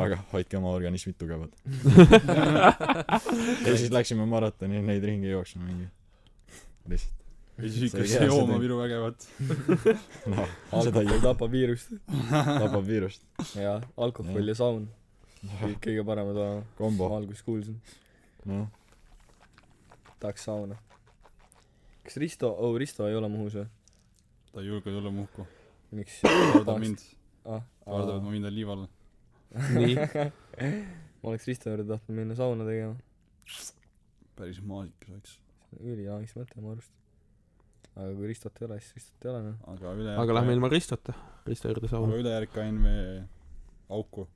S2: aga hoidke oma organismid tugevad . ja siis läksime maratoni neid ringi jooksma mingi . lihtsalt ,
S5: ja siis
S2: See oli
S5: hakkas
S2: hea, see
S5: jooma
S2: tegi-
S5: Viru vägevat .
S2: noh , seda
S3: alkohol
S2: ju
S3: tapab viirust . (laughs)
S2: tapab viirust .
S3: jaa , alkohol ja saun . kõik kõige paremad olema . ma
S2: kombo ,
S3: alguses kuulsin ,
S2: noh ,
S3: tahaks sauna . kas Risto , oh Risto ei ole Muhus või ?
S5: ta ei julge tulla muhku .
S3: (coughs) miks ?
S5: kardab mind ,
S3: ah ,
S5: kardab , et ma viin ta liiva alla .
S3: (laughs)
S4: nii ,
S3: ma oleks Risto juurde tahtnud minna sauna tegema .
S5: päris maasikas oleks .
S3: ülihaagiks mõte mu arust . aga kui Ristot ei ole , siis Ristot ei ole noh .
S5: aga üle
S4: aga lähme ilma Ristota . Risto juurde sauna
S5: aga . ülejärg KNV auku ,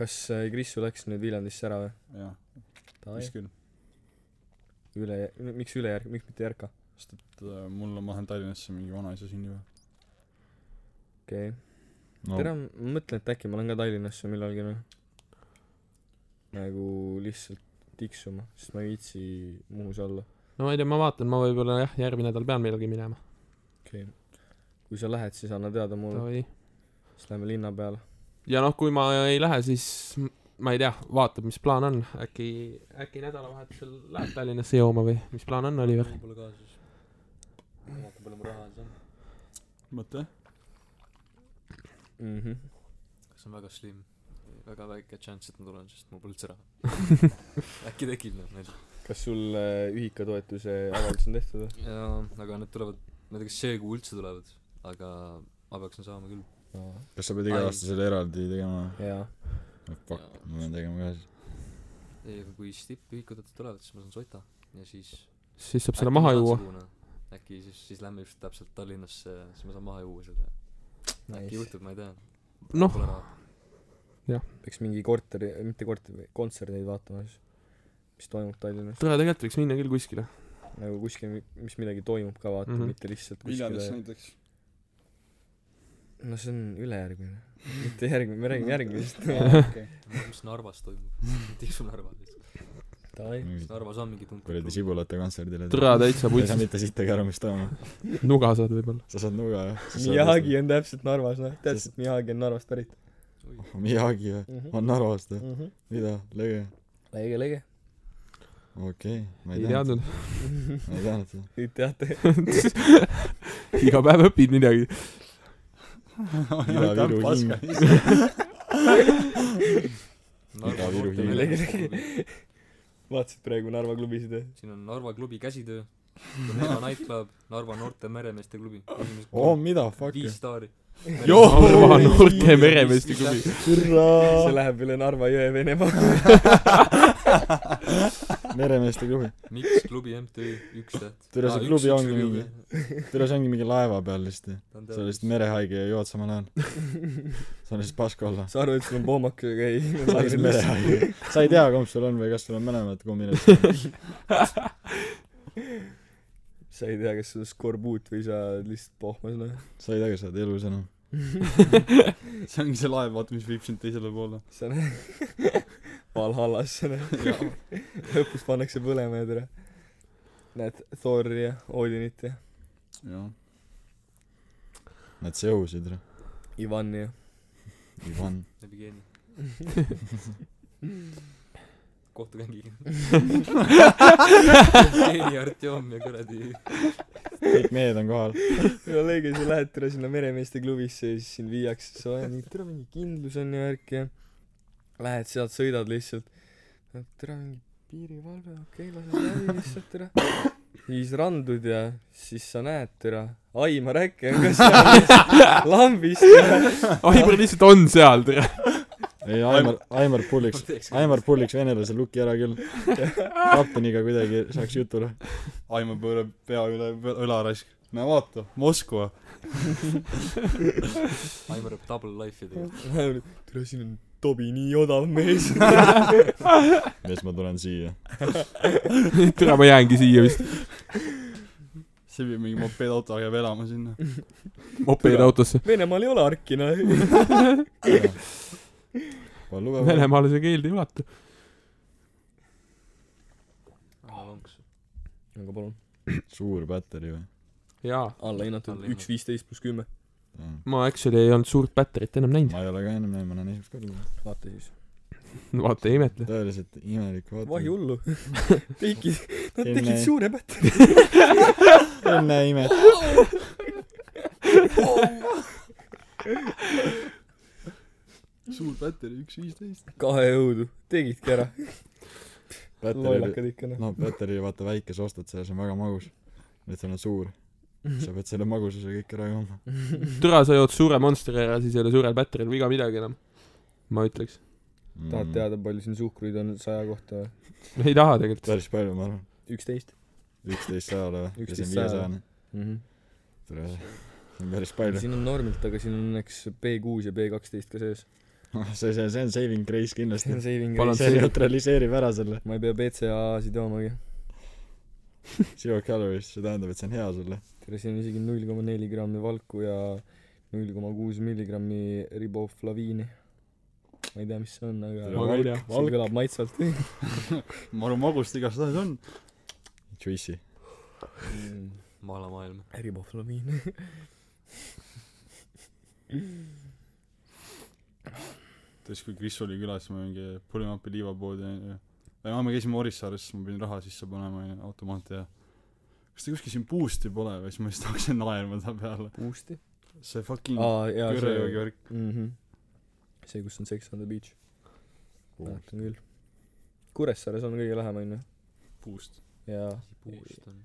S3: kas äh, Krissu läks nüüd Viljandisse ära või ?
S5: jah ,
S3: ta
S5: vist
S3: ei ,
S5: küll .
S3: üle , miks ülejärg , miks mitte Jerka ?
S5: sest et äh, mul on , ma lähen Tallinnasse mingi vanaisa sünnipäeva .
S3: okei okay. no. ,
S2: no
S3: tere , ma mõtlen , et äkki ma lähen ka Tallinnasse millalgi noh . nagu lihtsalt tiksuma , sest ma ei viitsi Muhus olla .
S4: no ma ei tea , ma vaatan , ma võib-olla jah , järgmine nädal pean millalgi minema .
S3: okei okay. . kui sa lähed , siis anna teada mulle ,
S4: davai .
S3: siis lähme linna peale .
S4: ja noh , kui ma ei lähe , siis m- ma ei tea , vaatab , mis plaan on , äkki , äkki nädalavahetusel lähed Tallinnasse jooma või mis plaan on , Oliver ?
S6: mul pole ka siis . vaata , palju mul raha siis on .
S5: mõtle ,
S3: mm . -hmm.
S6: see on väga slim . väga väike chance , et ma tulen , sest mul pole üldse
S3: (laughs)
S6: raha . äkki tekib noh , ma ei tea .
S3: kas sul äh, ühikatoetuse avaldus on tehtud või ?
S6: jaa , aga need tulevad , ma ei tea , kas see kuu üldse tulevad , aga ma peaksin saama küll .
S2: kas sa pead iga
S6: Ai.
S2: aasta selle eraldi tegema ?
S3: jaa .
S2: Fuck , ma pean tegema ka siis .
S6: ei , aga kui stippühikud tulevad , siis ma saan sota ja siis
S4: siis saab selle
S6: äkki
S4: maha
S6: ma saan
S4: juua .
S6: suguna. äkki siis , siis lähme just täpselt Tallinnasse , siis ma saan maha juua selle . äkki juhtub , ma ei tea .
S4: Noh.
S6: Pole raha .
S3: peaks mingi korteri , mitte korteri , kontserteid vaatama siis , mis toimub Tallinnas .
S4: tore , tegelikult võiks minna küll kuskile .
S3: nagu kuskil , mis midagi toimub ka vaata mm ,
S4: Mhm.
S3: -hmm. mitte lihtsalt
S5: Viljandis
S3: kuskile .
S5: näiteks .
S3: no see on ülejärgmine . mitte järgmine , me räägime järgmisest .
S6: mis Narvas toimub ? (laughs) tiksu Narva lihtsalt .
S3: Davai .
S6: Narvas on mingi
S2: kuradi
S6: tuntud .
S2: sibulate kontserdile .
S4: tore , täitsa
S2: sa ei saa
S4: putsis .
S2: mitte sittagi aru , mis toimub .
S4: nuga saad võib-olla .
S2: sa saad nuga , jah .
S3: Miyagi on täpselt Narvas , noh , täpselt Miyagi on Narvast pärit
S2: Miyagi või ?
S3: mm .
S2: on Narvast või ?
S3: -hmm.
S2: mida ? lõge ?
S3: lege , lege .
S2: okei okay, , ma
S4: ei
S2: ei teadnud ,
S4: teadnud . (laughs)
S2: ma ei teadnud
S6: (laughs)
S2: seda .
S3: Te teate .
S4: iga päev õpid midagi .
S2: Ida-Viru hing . Ida-Viru
S3: (laughs) vaatasid praegu Narva klubisid või ?
S6: siin on Narva klubi käsitöö , Narva nightclub , Narva noorte meremeeste klubi .
S2: oo , Oh, mida , fuck .
S6: viis staari .
S4: Narva noorte meremeeste klubi .
S3: see läheb üle Narva jõe Venemaa .
S2: meremeeste klubi .
S6: miks klubi MTÜ , üks täht .
S2: Tere, see klubi ongi mingi- tule , see ongi mingi laeva peal lihtsalt ju . sa oled
S6: sellest
S2: lihtsalt merehaige ja jood samal ajal . sa oled lihtsalt pask olla .
S3: sa arvad , et sul on poomakusega ?
S2: sa oled lihtsalt
S3: ei .
S2: merehaige . sa ei tea , kumb sul on või kas sul on mõlemad kombinatsioonid .
S3: (laughs) sa ei tea , kas sa oled skorbuut või sa oled lihtsalt pohmas , noh .
S2: sa ei tea , kas sa oled elus enam .
S5: see ongi see laev , vaata , mis viib sind teisele poole .
S3: see on Valhallas , see on . lõpus pannakse põlema ja tere . näed Thori ja Odinit ja
S5: jah ,
S2: näed , see õhus , Indrek .
S3: Ivani ja .
S2: Ivan .
S6: läbi geeni kohtugängiga geeni Artjom ja kuradi
S2: kõik mehed on kohal .
S3: no lõige , sa lähed tere sinna meremeeste klubisse ja siis sind viiakse , sa oled mingi tere mingi kindlus on ju värk ja lähed sealt , sõidad lihtsalt . tere mingi piirivalve , okei okay, , lase läbi lihtsalt tere . siis randud ja siis sa näed tere , Aimar äkki on ka seal lambis .
S4: Aivar lihtsalt on seal , tere .
S2: ei , Aimar , Aimar pulliks ,
S6: teeks
S2: Aimar pulliks venelase luki ära küll . kapteniga kuidagi saaks jutule .
S5: Aimo pöörab pea üle pö- õla raisk . no vaata , Moskva .
S6: Aimar peab double life'i tegema
S3: tere , siin on Tobi nii odav mees .
S2: ja siis ma tulen siia .
S4: tere , ma jäängi siia vist .
S5: see viib mingi mopeedauto , jääb elama sinna .
S4: mopeed autosse .
S3: Venemaal ei ole arki , noh .
S2: palun lugege .
S4: Venemaale see keeld ei ulatu .
S6: aga lonks
S3: aga palun .
S2: suur battery või
S4: jaa ,
S3: alla hinnatud
S6: Alla hinnatud.
S3: üks viisteist pluss kümme .
S2: Mm.
S4: ma Actually ei olnud suurt batterit ennem näinud .
S2: ma ei ole ka ennem näinud , ma näen esimest korda .
S3: vaata siis .
S4: vaata , ei imetle .
S2: tõeliselt imelik vaata .
S3: vahi hullu . tegid , nad
S2: Enne-
S3: tegid suure pätte .
S2: enne imet- .
S5: suur battery , üks viisteist .
S3: kahe õudu , tegidki ära .
S2: battery ,
S3: lollakad ikka noh .
S2: noh , battery vaata väikese ostad selle , see on väga magus . nüüd sul on suur . sa pead selle magususe kõik ära jooma .
S4: türa , sa jood suure Monsteri ära , siis ei ole suurel battery'l viga midagi enam . ma ütleks .
S2: Mm.
S3: tahad ? teada , palju siin suhkruid on saja kohta või ?
S4: ei taha tegelikult .
S2: päris palju , ma arvan .
S3: üksteist .
S2: üksteist sajale või ? ja see on
S3: 11
S2: viiesajane .
S3: Mhm.
S2: tule , see äh, on päris palju .
S3: siin on normilt , aga siin on õnneks B6 ja B12 ka sees .
S2: Ah, see , see , see on saving grace
S3: see on
S2: kindlasti .
S3: saving
S4: Palun.
S3: grace .
S2: see neutraliseerib ära selle
S3: ma ei pea BCAA-sid joomagi .
S2: zero calories , see tähendab , et see on hea sulle .
S3: tere , siin on isegi null koma neli grammi valku ja null koma kuus milligrammi riboflaviini . ma ei tea , mis see on ,
S4: ma
S3: aga
S4: ka ei tea .
S3: see kõlab maitsvalt .
S5: maru magust igastahes on .
S2: Juicy .
S3: (laughs)
S6: maalamaailm .
S3: riboflaviin .
S5: siis kui Kris oli külas , siis ma mingi pulime appi liivapoodi onju . või noh , me käisime Orissaares , siis ma pidin raha sisse panema onju , automaati ja kas te kuskil siin boost'i pole või siis ma lihtsalt hakkasin naerma ta peale .
S3: Boost'i .
S5: see fucking ah,
S3: aa , jaa ,
S5: kõrvejoogi
S3: see .
S5: värk .
S3: Mhm. see , kus on Sex on the Beach . mäletan küll . Kuressaares on kõige lähem , onju .
S5: Boost .
S3: ja
S6: puust on .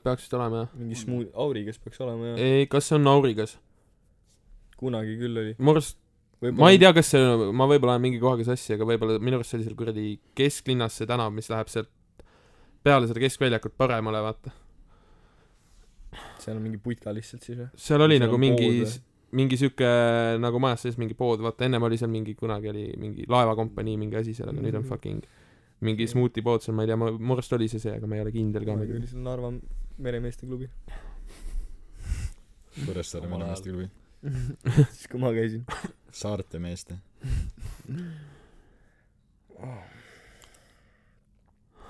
S4: peaksid olema jah .
S3: mingi smuu- , Aurigas peaks olema ja
S4: ei , kas see on Aurigas ?
S3: kunagi küll oli .
S4: mu arust , ma ei . tea , kas see , ma võib-olla olen mingi kohaga sassi , aga võib-olla minu arust see oli seal kuradi kesklinnas see tänav , mis läheb sealt peale seda keskväljakut paremale , vaata .
S3: seal on mingi putka lihtsalt siis või ?
S4: seal oli
S3: Seal
S4: nagu
S3: on pood
S4: mingi
S3: või? ,
S4: mingi siuke nagu majas sees mingi pood , vaata ennem oli seal mingi , kunagi oli mingi laevakompanii mingi asi seal , aga nüüd on
S3: Mhm.
S4: fucking mingi smuuti pood seal , ma ei tea , ma , mu arust oli see see , aga ma ei ole kindel ka
S3: kunagi
S4: muidugi
S3: oli . seal Narva meremeeste
S4: (laughs)
S3: klubi .
S2: Kuressaare
S6: Omal ajal.
S2: meremeeste klubi .
S3: siis kui ma käisin .
S2: saarte meeste .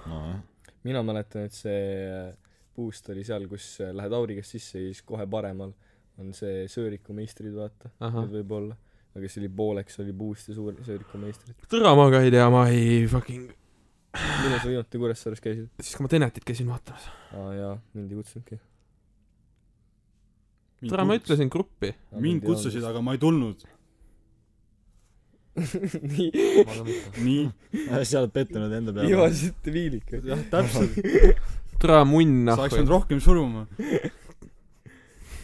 S2: nojah ,
S3: mina mäletan , et see puust oli seal , kus äh, lähed Aurigast sisse ja siis kohe paremal on see Sõõriku meistrid , vaata .
S4: ahah ,
S3: võib-olla . aga siis oli pooleks oli puust ja suur Sõõriku meistrid .
S4: türa ma ka ei tea , ma ei fucking ,
S3: millal sa viimati Kuressaares käisid ?
S4: siis kui ma Tenetit käisin vaatamas .
S3: aa jaa , mind ei kutsunudki .
S4: türa ma . ütlesin gruppi .
S5: mind kutsusid , aga ma ei tulnud .
S3: (laughs) nii ,
S6: ma ka mitte .
S5: nii .
S2: Ah, sa oled pettunud enda peale .
S3: viimasite viilika .
S5: jah , täpselt .
S4: türa munn
S5: sa oleks
S4: ahju
S5: pidanud . rohkem suruma .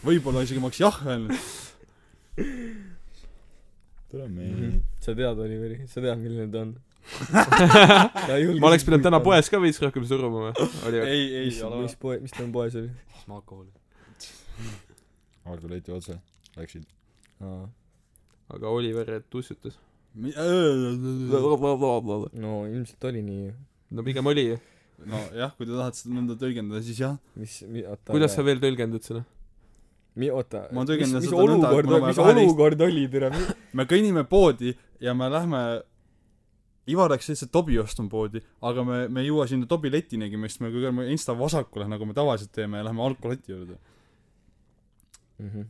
S5: võib-olla isegi ma oleks jah öelnud .
S2: tule meile .
S3: (laughs) sa tead , Oliveri , sa tead , milline ta on .
S4: (laughs) ma oleks pidanud täna . poes ka veits rohkem suruma või ? oli või ?
S5: Ah! ei , ei
S3: mis , mis . poe , mis tal poes oli ?
S6: siis ma alkoholi .
S2: Aadu leiti otse , läksid .
S4: aga Oliver tussutas . (laughs) no
S3: no ilmselt oli nii .
S4: pigem oli ju .
S5: nojah , kui te tahate seda nõnda tõlgendada , siis jah .
S3: mis , mi- , oota .
S4: kuidas sa ? veel tõlgendad seda ?
S3: mi- , oota .
S5: Ma tõlgendan
S3: mis
S5: seda nõnda, et
S3: olukord
S5: mul on ,
S3: mis
S5: vaja kaheteist-
S3: olukord oli , tere .
S5: me kõnnime poodi ja me lähme Ivar läks lihtsalt tobi ostma poodi , aga me , me ei jõua sinna tobiletinegi , me istume kõige insta vasakule , nagu me tavaliselt teeme ja lähme alkolati juurde .
S3: Mhm.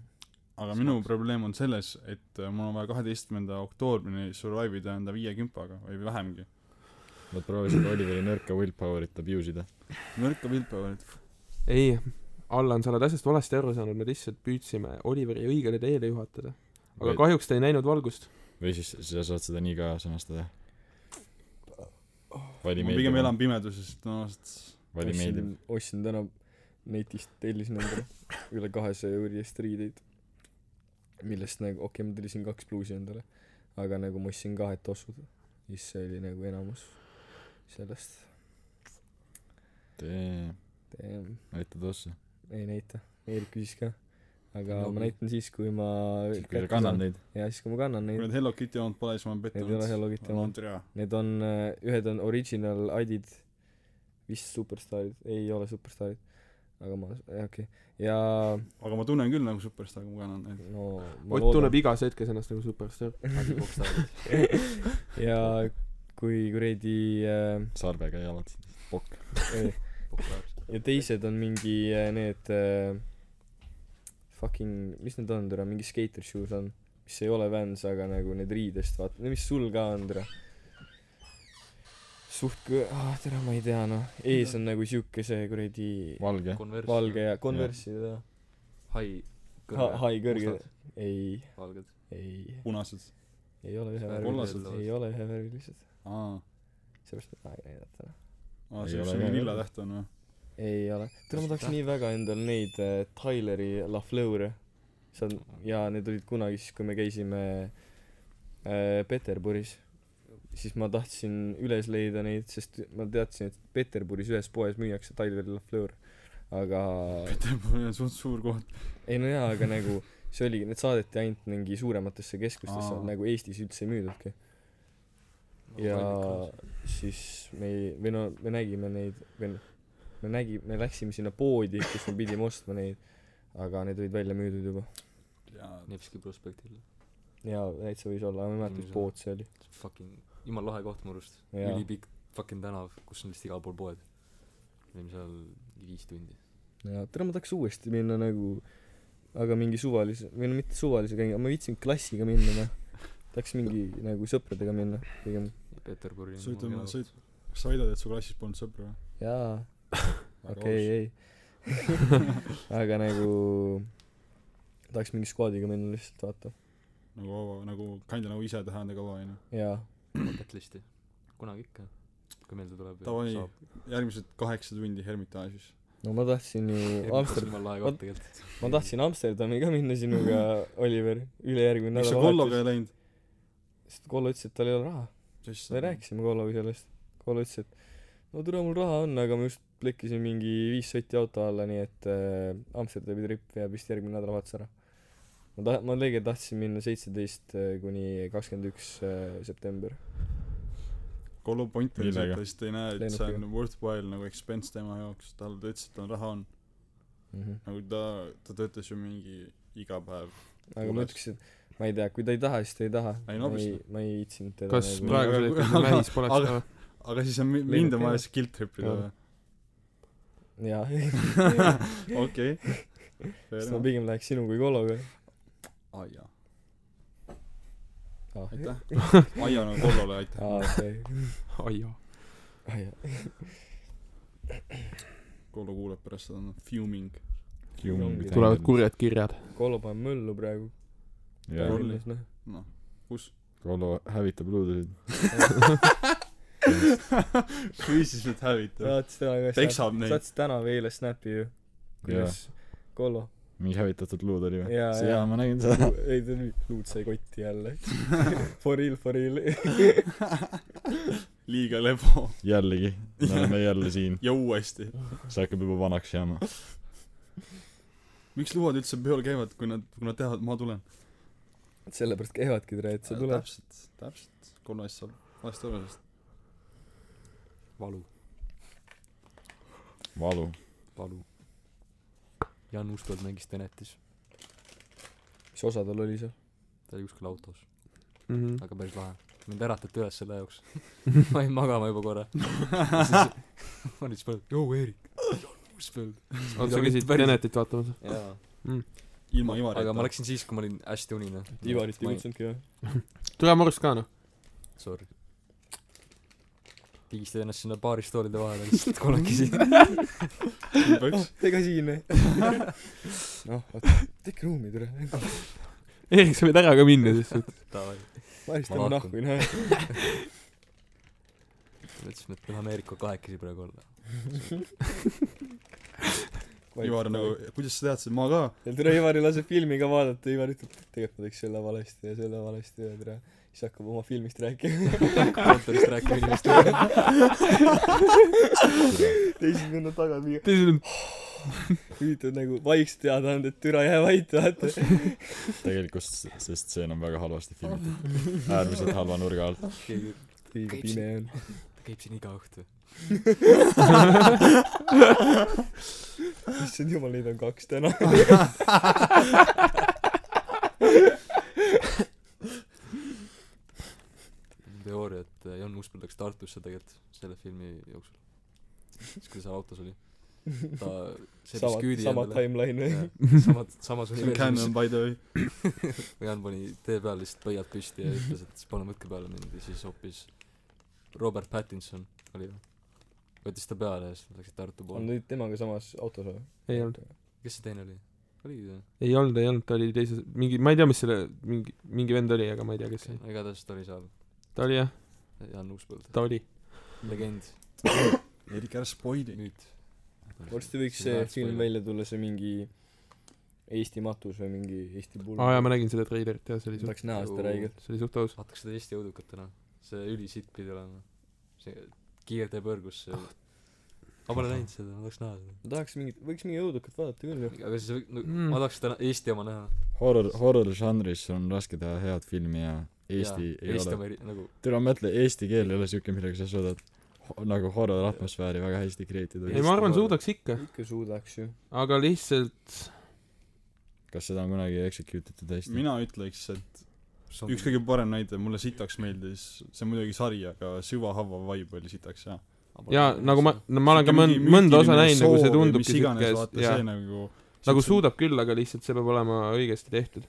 S5: aga minu probleem on selles , et äh, mul on vaja kaheteistkümnenda oktoobrini survive ida enda viie kümpaga või vähemgi .
S2: Nad proovisid Oliveri nõrka willpower'it abuse ida .
S5: nõrka vilpevalit .
S4: ei , Allan , sa oled asjast valesti aru saanud , me lihtsalt püüdsime Oliveri õigele teele juhatada . aga
S2: Või-
S4: kahjuks ta ei näinud valgust .
S2: või siis sa saad seda nii ka sõnastada . vali
S5: ma pigem
S2: meeldib ,
S5: elan pimeduses , tõenäoliselt .
S2: vali meeldib .
S3: ostsin täna netist , tellisin endale üle kahesaja euri eest riideid . millest nagu , okei okay, , ma tellisin kaks pluusi endale . aga nagu ma ostsin kahed tossud . siis see oli nagu enamus sellest .
S2: tee ,
S3: Damn.
S2: näita tosse .
S3: ei näita , Eerik küsis ka . aga
S6: No
S3: no, ma
S6: nii.
S3: näitan siis , kui ma
S2: kui sa kannad . neid .
S3: jaa , siis kui ma kannan
S5: kui
S3: neid .
S5: need Hello Kitty omad pole , siis ma olen
S3: Need ei ole
S5: pettunud .
S3: Hello Kitty
S5: ma
S3: omad .
S5: olen türa .
S3: Need on , ühed on original adid , vist superstaarid , ei ole superstaarid . aga ma , okei okay. . ja
S5: aga ma tunnen küll nagu superstaar , kui ma kannan neid .
S3: no ma
S4: Ott tunneb igas hetkes ennast nagu superstaar .
S3: (laughs) ja kui kuradi äh,
S2: sarvega jalad .
S3: ei, ja teised on mingi äh, need äh, fucking , mis need on , tere , mingi skater shoes on , mis ei ole Vans , aga nagu need riidest , vaata , no mis sul ka on , tere . suht kõ- , ah , tere , ma ei tea , noh , ees on nagu siuke see kuradi
S2: valge .
S6: Converse
S3: valge ja Converse'id ja
S6: hai
S3: Ha- hai kõrged
S6: Mustad,
S3: ei ,
S6: valged
S3: ei ,
S5: punased
S3: ei ole ühevärvilised
S5: Kollased. ,
S3: ei ole ühevärvilised ,
S5: aa
S3: seepärast ma ei näidata .
S5: aa
S2: Ei
S5: see
S2: ole
S5: üks on
S2: ka-
S5: lilla täht on või
S3: ei ole . tead , ma tahaks nii väga endale neid äh, Tyleri La Fleure . see on , ja need olid kunagi siis , kui me käisime äh, Peterburis . siis ma tahtsin üles leida neid , sest ma teadsin , et Peterburis ühes poes müüakse Tyleri La Fleure . aga ,
S5: Peterburi on suht suur koht
S3: ei no jaa , aga nagu see oligi , need saadeti ainult mingi suurematesse keskustesse
S5: Aa. ,
S3: nagu Eestis üldse ei müüdudki . ja siis me ei või no me nägime neid või noh me nägi- me läksime sinna poodi kus me pidime ostma neid aga need olid välja müüdud juba
S5: jaa
S6: Nevski prospektil
S3: jaa täitsa võis olla aga ma ei mäleta mis
S6: Ilmselt.
S3: pood see oli
S6: fucking jumal lahe koht mu arust
S3: Jaa.
S6: ülipikk fucking tänav kus on lihtsalt igal pool poed olime seal mingi viis tundi
S3: jaa tere ma tahaks uuesti minna nagu aga mingi suvalise või no mitte suvalise gängi aga ma viitsin klassiga minna noh tahaks mingi nagu sõpradega minna pigem
S6: ja Peterburi
S5: sa ütled ma sa üt- kas sa väidad et su klassis polnud sõpru või
S3: jaa
S5: Väga
S3: okei
S5: aus.
S3: ei (laughs) aga nagu tahaks mingi skuaadiga minna lihtsalt vaata
S5: nagu vaba nagu kinda nagu ise teha enda kava onju
S3: jaa
S6: bucket list'i kunagi ikka kui meelde tuleb
S5: Davai. järgmised kaheksa tundi Hermitage'is
S3: no ma tahtsin ju Amsterdami
S6: Amsterdam jumal lahe koht tegelikult
S3: ma tahtsin Amsterdami ka minna sinuga , Oliver , ülejärgmine
S5: miks sa kolloga
S3: nädalavahetus .
S5: ei läinud
S3: sest Kollo ütles , et tal ei ole raha .
S5: siis
S3: me rääkisime Kolloga sellest . Kollo ütles , et no tule , mul raha on , aga ma just plekkisin mingi viis sotti auto alla , nii et äh, Amsterdami trip jääb vist järgmine nädalavahetus ära . ma ta- , ma tegelikult tahtsin minna seitseteist äh, kuni kakskümmend üks äh, september .
S5: kollo point oli see et
S2: Millega?
S5: ta lihtsalt ei näe et see on
S3: Lennukiga.
S5: worthwhile nagu expense tema jaoks tal ta ütles et tal raha on
S3: Mhm.
S5: nagu ta ta töötas ju mingi iga päev
S3: aga ma
S5: Kuulas.
S3: ütleks , et ma ei tea , kui ta ei taha , siis ta ei taha .
S5: Ei, no
S3: ma ei
S5: obviously. ,
S3: ma ei viitsinud teda
S4: kas
S3: nagu-
S4: praegusel
S5: Aga-
S4: hetkel
S5: aga-
S4: Mähis poleks
S5: aga-
S4: ka
S5: aga siis on mi-
S3: Lennukiga.
S5: mind on vaja skill trip ida või
S3: jaa , (laughs)
S5: okei
S3: siis ma pigem läheks sinu kui Kolloga .
S5: aa jaa
S3: ah ,
S5: aitäh
S3: (laughs)
S5: Aia nagu kollole aitäh
S3: aa , okei .
S4: ai joo
S3: ah jah .
S5: kollo kuuleb pärast seda on fuming
S4: tulevad . kurjad kirjad
S3: Kolo paneb möllu praegu .
S2: jaa ,
S5: noh kus
S2: Kolo hävitab luudusid .
S5: (laughs) füüsiliselt hävitab
S3: saatis täna ühe
S5: peksab
S6: (laughs)
S5: neid
S3: saatis täna või eile snappi ju ,
S2: jaa ,
S3: kuidas Kolo ,
S2: mingi hävitatud luud oli või
S3: Jaa, ? jaa.
S2: jaa , ma nägin seda .
S3: ei ta nüüd luud sai kotti
S5: (laughs)
S3: jälle . For real , for real .
S5: liiga lebo
S2: jällegi , me oleme jälle siin ,
S5: ja uuesti
S2: see hakkab juba vanaks jääma .
S5: miks luuad üldse peol käivad kui nad kui nad teavad ma tulen
S3: sellepärast käivadki tere , et sa tuled .
S5: täpselt täpselt kollo eest saab valesti aru sest
S6: valu
S2: valu .
S6: valu Jaan Mustvold mängis Tenetis
S3: mis osa tal oli seal ?
S6: ta oli kuskil autos
S4: mhmh
S6: aga päris lahe mind äratati üles selle
S3: (laughs)
S6: jaoks ma jäin magama juba korra Ja siis ma olin siis praegu joo Eerik Jaan Mustvold
S4: oota sa käisid
S6: Päris-
S4: Tenetit vaatamas
S6: jaa
S5: ilma Ivarita
S6: aga ma läksin siis kui ma olin hästi unine
S3: Ivarit ei
S6: Ma
S3: kutsunudki või ?
S4: tule Morst ka noh
S6: sorry pigistad ennast sinna baari stoolide vahele (laughs) lihtsalt kolmekesi
S5: juba
S3: oh
S6: (laughs)
S5: üks ,
S3: ega siin
S5: eh.
S3: või ? (laughs) noh , oota , tehke ruumi ,
S5: (laughs)
S3: tere .
S4: Erik sa võid ära ka minna siis et
S6: davai
S3: ma vist
S6: Ma
S3: lähen
S6: lahkun.
S3: nahku ,
S6: (laughs)
S3: noh .
S6: mõtlesime et me tahame Eerikuga kahekesi praegu
S3: (laughs)
S6: olla
S5: Ivar nagu kuidas sa teadsid ma ka
S3: ja tere Ivari laseb filmi ka vaadata Ivar ütleb tegelikult ma teeks selle valesti ja selle valesti ja tere siis hakkab oma filmist rääkima
S6: kontorist rääkima inimestele
S3: teised minna tagasi ja
S4: teisel on
S3: üritavad nagu vaikselt teada anda et türa jää vait vaata
S2: tegelikult , sest stseen on väga halvasti filmitud . äärmiselt halva nurga alt .
S6: keegi
S3: liiga pime on
S6: ta käib siin iga õhtu
S3: issand jumal neid on kaks täna
S6: teooria , et äh, Jan Uuspõld läks Tartusse tegelikult selle filmi jooksul . siis kui ta seal autos oli . (laughs) ta sõitis
S3: sama ,
S6: küüdi
S3: sama
S6: endale
S3: timeline või ?
S6: (laughs) Jaa, samad , samas
S5: see on Canon
S6: universumis
S5: by the way .
S6: Jan pani tee peal lihtsalt pöiad püsti ja ütles et siis palun võtke peale mind ja siis hoopis Robert Pattinson oli ju võttis ta peale ja siis nad läksid Tartu
S3: on
S6: poole
S3: nüüd temaga samas autos või ?
S4: ei olnud ,.
S6: kes see teine oli oligi ju
S4: ei olnud , ei olnud , ta oli teises , mingi , ma ei tea , mis selle , mingi , mingi vend oli , aga ma ei tea , kes see oli .
S6: no igatahes ta oli seal
S4: ta oli jah ,
S6: Jaan Uuspõld
S4: ta oli .
S6: legend
S5: Erik , ära spoil'i .
S6: nüüd
S3: varsti võiks see film välja tulla , see mingi Eesti matus või mingi Eesti pulm
S4: aa jaa , ma nägin seda treilerit jah , see oli suht ,
S3: tahaks näha seda
S6: Juu.
S3: räigelt .
S4: see oli suht aus .
S6: vaataks seda Eesti õudukut täna see ülisitt pidi olema see kiirteepõrgus see ma pole näinud seda ma tahaks näha seda
S3: ma tahaks mingit , võiks mingi õudukat vaadata küll ju .
S6: aga siis või- no
S4: Mm.
S6: ma tahaks täna Eesti oma näha
S2: horror , horror žanris on raske teha head filmi ja Eesti ja,
S6: Jaa,
S2: ei
S6: Eesti
S2: Eesti ole .
S6: oma eri- nagu
S2: tere , mõtle , eesti keel ei ole siuke , millega sa suudad ho- nagu horror atmosfääri väga hästi create
S4: ei ,
S2: ida .
S4: ma arvan , suudaks ikka ,
S3: ikka suudaks ju .
S4: aga lihtsalt
S2: kas seda on kunagi execute itud hästi ?
S5: mina ütleks , et üks kõige parem näide , mulle sitaks meeldis , see on muidugi sari , aga Süvahava vibe oli sitaks hea .
S4: jaa , nagu ma , no ma olen ka mõnd- , mõnda osa näinud , nagu see tundubki siuke , jaa
S5: jaa ., nagu,
S4: nagu . suudab küll , aga lihtsalt see peab olema õigesti tehtud .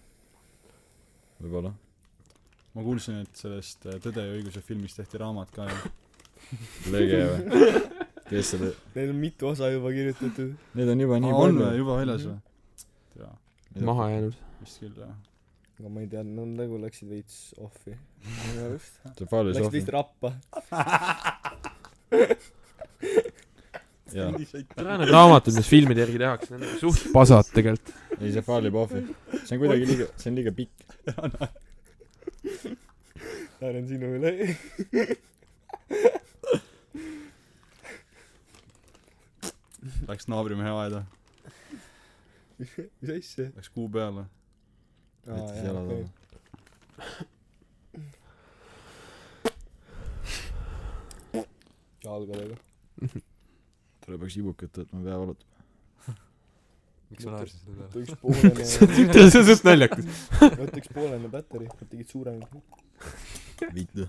S2: võib-olla .
S5: ma kuulsin , et sellest äh, Tõde ja õiguse filmist tehti raamat ka ja
S2: lõige või ?
S5: (laughs)
S2: kes selle ,
S3: Neil on mitu osa juba kirjutatud .
S2: neid on juba
S5: Aa,
S2: nii
S5: on
S2: palju Mhm.
S5: või . juba väljas või ? jaa ,
S4: maha jäänud .
S5: vist küll jah .
S3: aga ma ei tea , nad nagu läksid veits off'i . minu arust .
S2: see Paulus
S3: Läksid
S2: Ohvi
S3: veits , rappa .
S2: jaa .
S4: ära need raamatud , mis filmide järgi tehakse , need on (laughs) suht pasad tegelikult .
S2: ei , see Pauli Pohvi . see on kuidagi liiga , see on liiga pikk .
S3: naeran sinu üle . (laughs)
S5: Läks naabrimehe aeda ,
S3: mis asja ?
S5: läks kuu peale .
S2: võttis jalad alla .
S3: jalgadega .
S2: tuleb üks ibukat võtma , pea
S5: (laughs)
S2: valutab .
S6: miks ma naersin selle peale
S3: võtaks poolene ,
S4: see on suht naljakas .
S3: võtaks poolene battery , tegid suurema .
S2: vittu .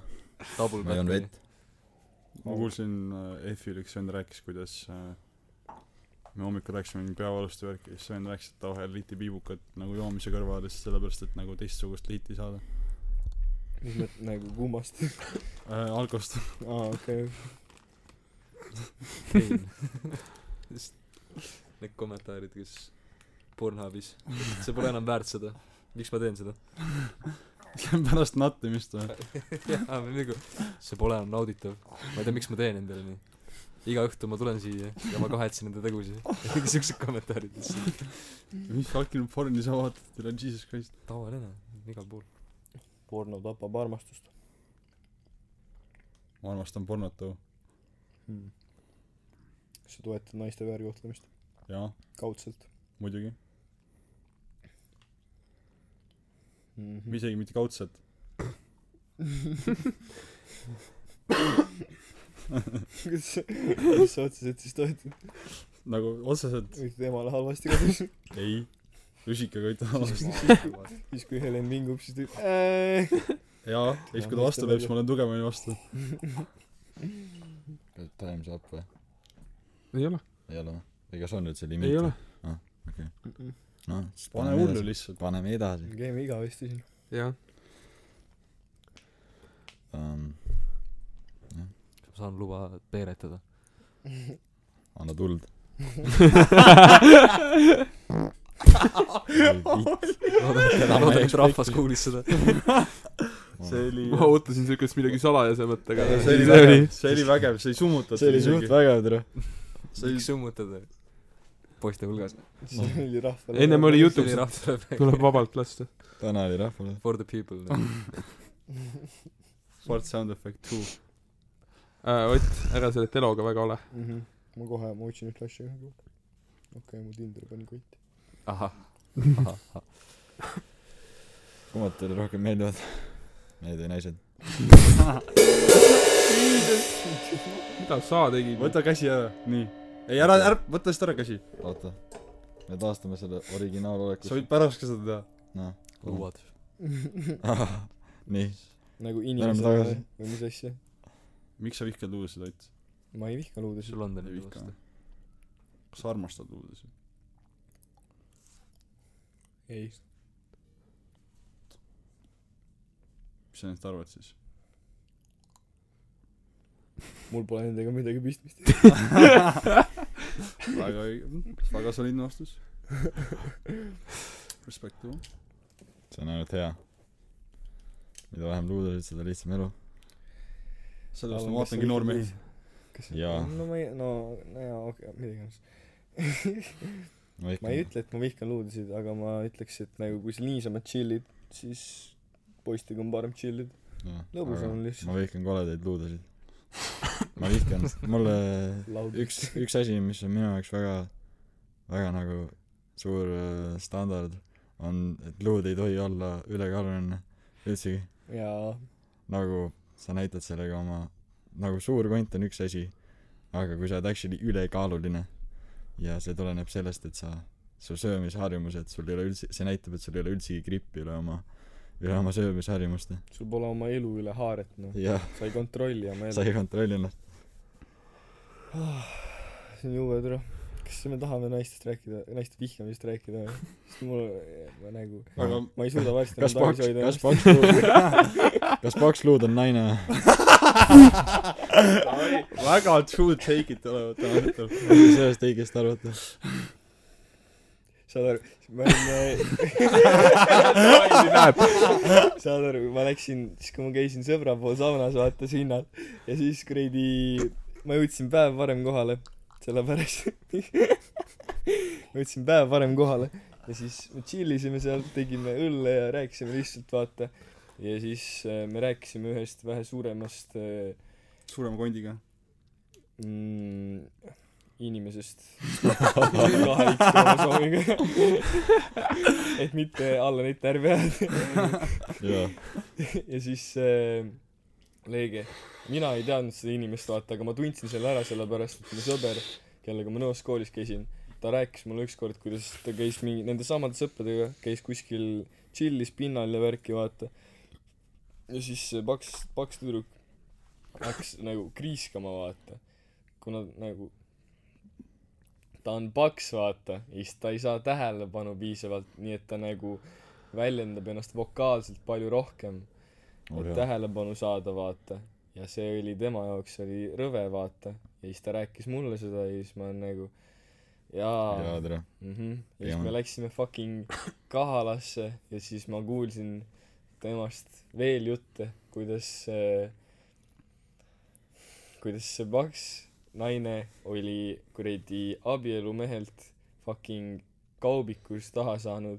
S6: double
S2: ma joon
S5: (laughs)
S6: battery
S2: vett .
S5: ma kuulsin äh, EF-il üks vend rääkis , kuidas äh, me hommikul rääkisime mingi peavaluste värki ja siis see vend rääkis , et ta vahel liitib ibukat nagu joomise kõrvale lihtsalt sellepärast , et nagu teistsugust liiti saada
S3: mis mõttes nagu kummast ? (laughs)
S5: äh, . alkost . (laughs)
S3: aa , okei .
S6: need kommentaarid kes Pornhubis see pole enam väärt seda miks ma teen seda
S5: pärast nattimist või ?
S6: jaa või nagu see pole enam nauditav ma ei tea miks ma teen endale nii iga õhtu ma tulen siia ja ma kahetsen enda tegusid mingi siuksed kommentaarid lihtsalt
S5: mis fucking porni sa vaatad , teil on jesus christ .
S6: tavaline igal pool
S3: porno tapab armastust .
S5: ma armastan pornot too .
S4: Hmm.
S3: kas sa toetad naiste väärkohtlemist
S5: jaa ,
S3: kaudselt
S5: muidugi .
S3: mm ?
S5: või isegi mitte kaudselt .
S3: kuidas sa , kuidas sa otseselt siis toetad ?
S5: nagu otseselt
S3: võid temale halvasti kodus .
S5: ei . rusikaga ütlen halvasti .
S3: siis kui Helen vingub , siis ta ütleb .
S5: jaa , ja siis kui ta vastu lööb , siis ma olen tugevamini vastu .
S2: (laughs) kas Time's up või ?
S4: ei ole ,
S2: ei ole või ? või kas on üldse limiit ?
S4: ei ole ..
S2: noh , siis
S5: pane hullu . lihtsalt .
S2: paneme edasi
S3: käime igavesti siin .
S4: jah .
S2: um, .
S6: ma saan luba peeretada
S2: anna
S5: (laughs)
S2: tuld .
S6: loodan et rahvas kuulis seda
S5: see oli
S4: (laughs) ma ootasin siukest midagi salajasemat , aga
S5: see oli vägev , see oli vägev , see ei summutatud .
S2: see oli suht . vägev tore .
S6: miks summutada poiste hulgas
S3: siis oli rahval .
S4: ennem oli
S6: see
S4: jutuks
S6: oli , rahvale
S4: et tuleb vabalt lasta .
S2: täna oli rahvale .
S6: for the people nagu
S2: (laughs)
S5: Fart sound effect two .
S4: Äh, Ott , ära selle teloga väga ole .
S3: ma kohe , ma otsin üht asja ka kohe . okei , mu Tinder pani kotti .
S6: ahah
S2: kummad teile rohkem meeldivad ? (laughs) Need või naised ?
S4: mida sa tegid ?
S5: võta käsi ära , nii . ei , ära , ära , võta lihtsalt ära käsi .
S2: oota . me taastame selle originaalolekus
S5: sa . võid pärast ka seda teha .
S2: noh . (laughs)
S6: luuad
S2: nii .
S3: nagu
S2: Lähme
S3: inimesena
S2: tagasi.
S3: või või mis asja .
S5: miks sa vihkad luulesid , Ott ?
S3: ma ei vihka luudesid .
S6: sul on ta
S5: ei
S6: nüüd
S5: vihka
S6: vastu .
S5: kas sa armastad luudusi ?
S3: ei .
S5: mis sa neist arvad siis ?
S3: mul pole nendega midagi pistmist .
S5: väga , väga soliidne vastus . Respectable .
S2: see on ainult hea mida vähem luudusid seda lihtsam elu
S5: sellepärast ma vaatangi noormehi ..
S2: Jaa.
S3: no ma ei , no , no jaa , okei okay, , midagi iganes .
S2: ma
S3: ma ei
S2: ikka
S3: ütle , et ma vihkan luudusid , aga ma ütleks , et nagu kui sa niisama chill'id , siis poistega on parem chill'ida .
S2: jah,
S3: lõbus
S2: aga
S3: on lihtsalt.
S2: ma vihkan koledaid luudusid (laughs) ma vihkan mulle
S3: laud .
S2: üks üks asi mis on minu jaoks väga väga nagu suur äh, standard on et luud ei tohi olla ülekaaluline üldsegi
S3: jaa .
S2: nagu sa näitad sellega oma nagu suur kont on üks asi aga kui sa oled actually ülekaaluline ja see tuleneb sellest et sa su söömisharjumused sul ei ole üldse see näitab et sul ei ole üldsegi grippi üle oma üle oma söömisharjumuste
S3: sul pole oma elu üle haaret , noh .
S2: jah
S3: sa ei kontrolli oma
S2: sa
S3: elu .
S2: ei kontrolli ennast
S3: see on jube tore . kas me tahame naistest rääkida , naiste vihkamisest rääkida või ? sest mul , ma nagu ,
S5: aga
S3: ma ei suuda varsti
S2: kas
S3: enam
S2: paks
S3: tagasi hoida
S2: kas . paks luud (laughs) kas paks luud on naine
S5: väga true take'id tulevad täna õhtul .
S2: või kas sellest õigesti arvata
S3: saad aru , me olime , saad aru , ma läksin , siis kui ma käisin sõbra pool saunas , vaata sinnal , ja siis kuradi , ma jõudsin päev varem kohale , sellepärast (laughs) ma jõudsin päev varem kohale ja siis me tšillisime seal , tegime õlle ja rääkisime lihtsalt , vaata , ja siis äh, me rääkisime ühest vähe suuremast äh,
S5: suurema kondiga .
S3: mm, inimesest (laughs) kahe X kromosoomiga (laughs) et mitte alla neid närve ajada
S2: jaa
S3: (laughs) ja siis äh, Leege mina ei teadnud seda inimest vaata aga ma tundsin selle ära sellepärast et mu sõber kellega ma nõus koolis käisin ta rääkis mulle ükskord kuidas ta käis mingi nende samade sõpradega käis kuskil tšillis pinnal ja värki vaata ja siis see paks paks tüdruk hakkas nagu kriiskama vaata kuna nagu ta on paks vaata ja siis ta ei saa tähelepanu piisavalt nii et ta nagu väljendab ennast vokaalselt palju rohkem et tähelepanu saada vaata ja see oli tema jaoks oli rõve vaata ja siis ta rääkis mulle seda ja siis ma olen nagu jaa
S2: jaa tere
S3: mhmh Mhm. ja siis
S2: Jaa.
S3: me läksime fucking Kahalasse ja siis ma kuulsin temast veel jutte kuidas äh, kuidas see paks naine oli kuradi abielumehelt fucking kaubikus taha saanud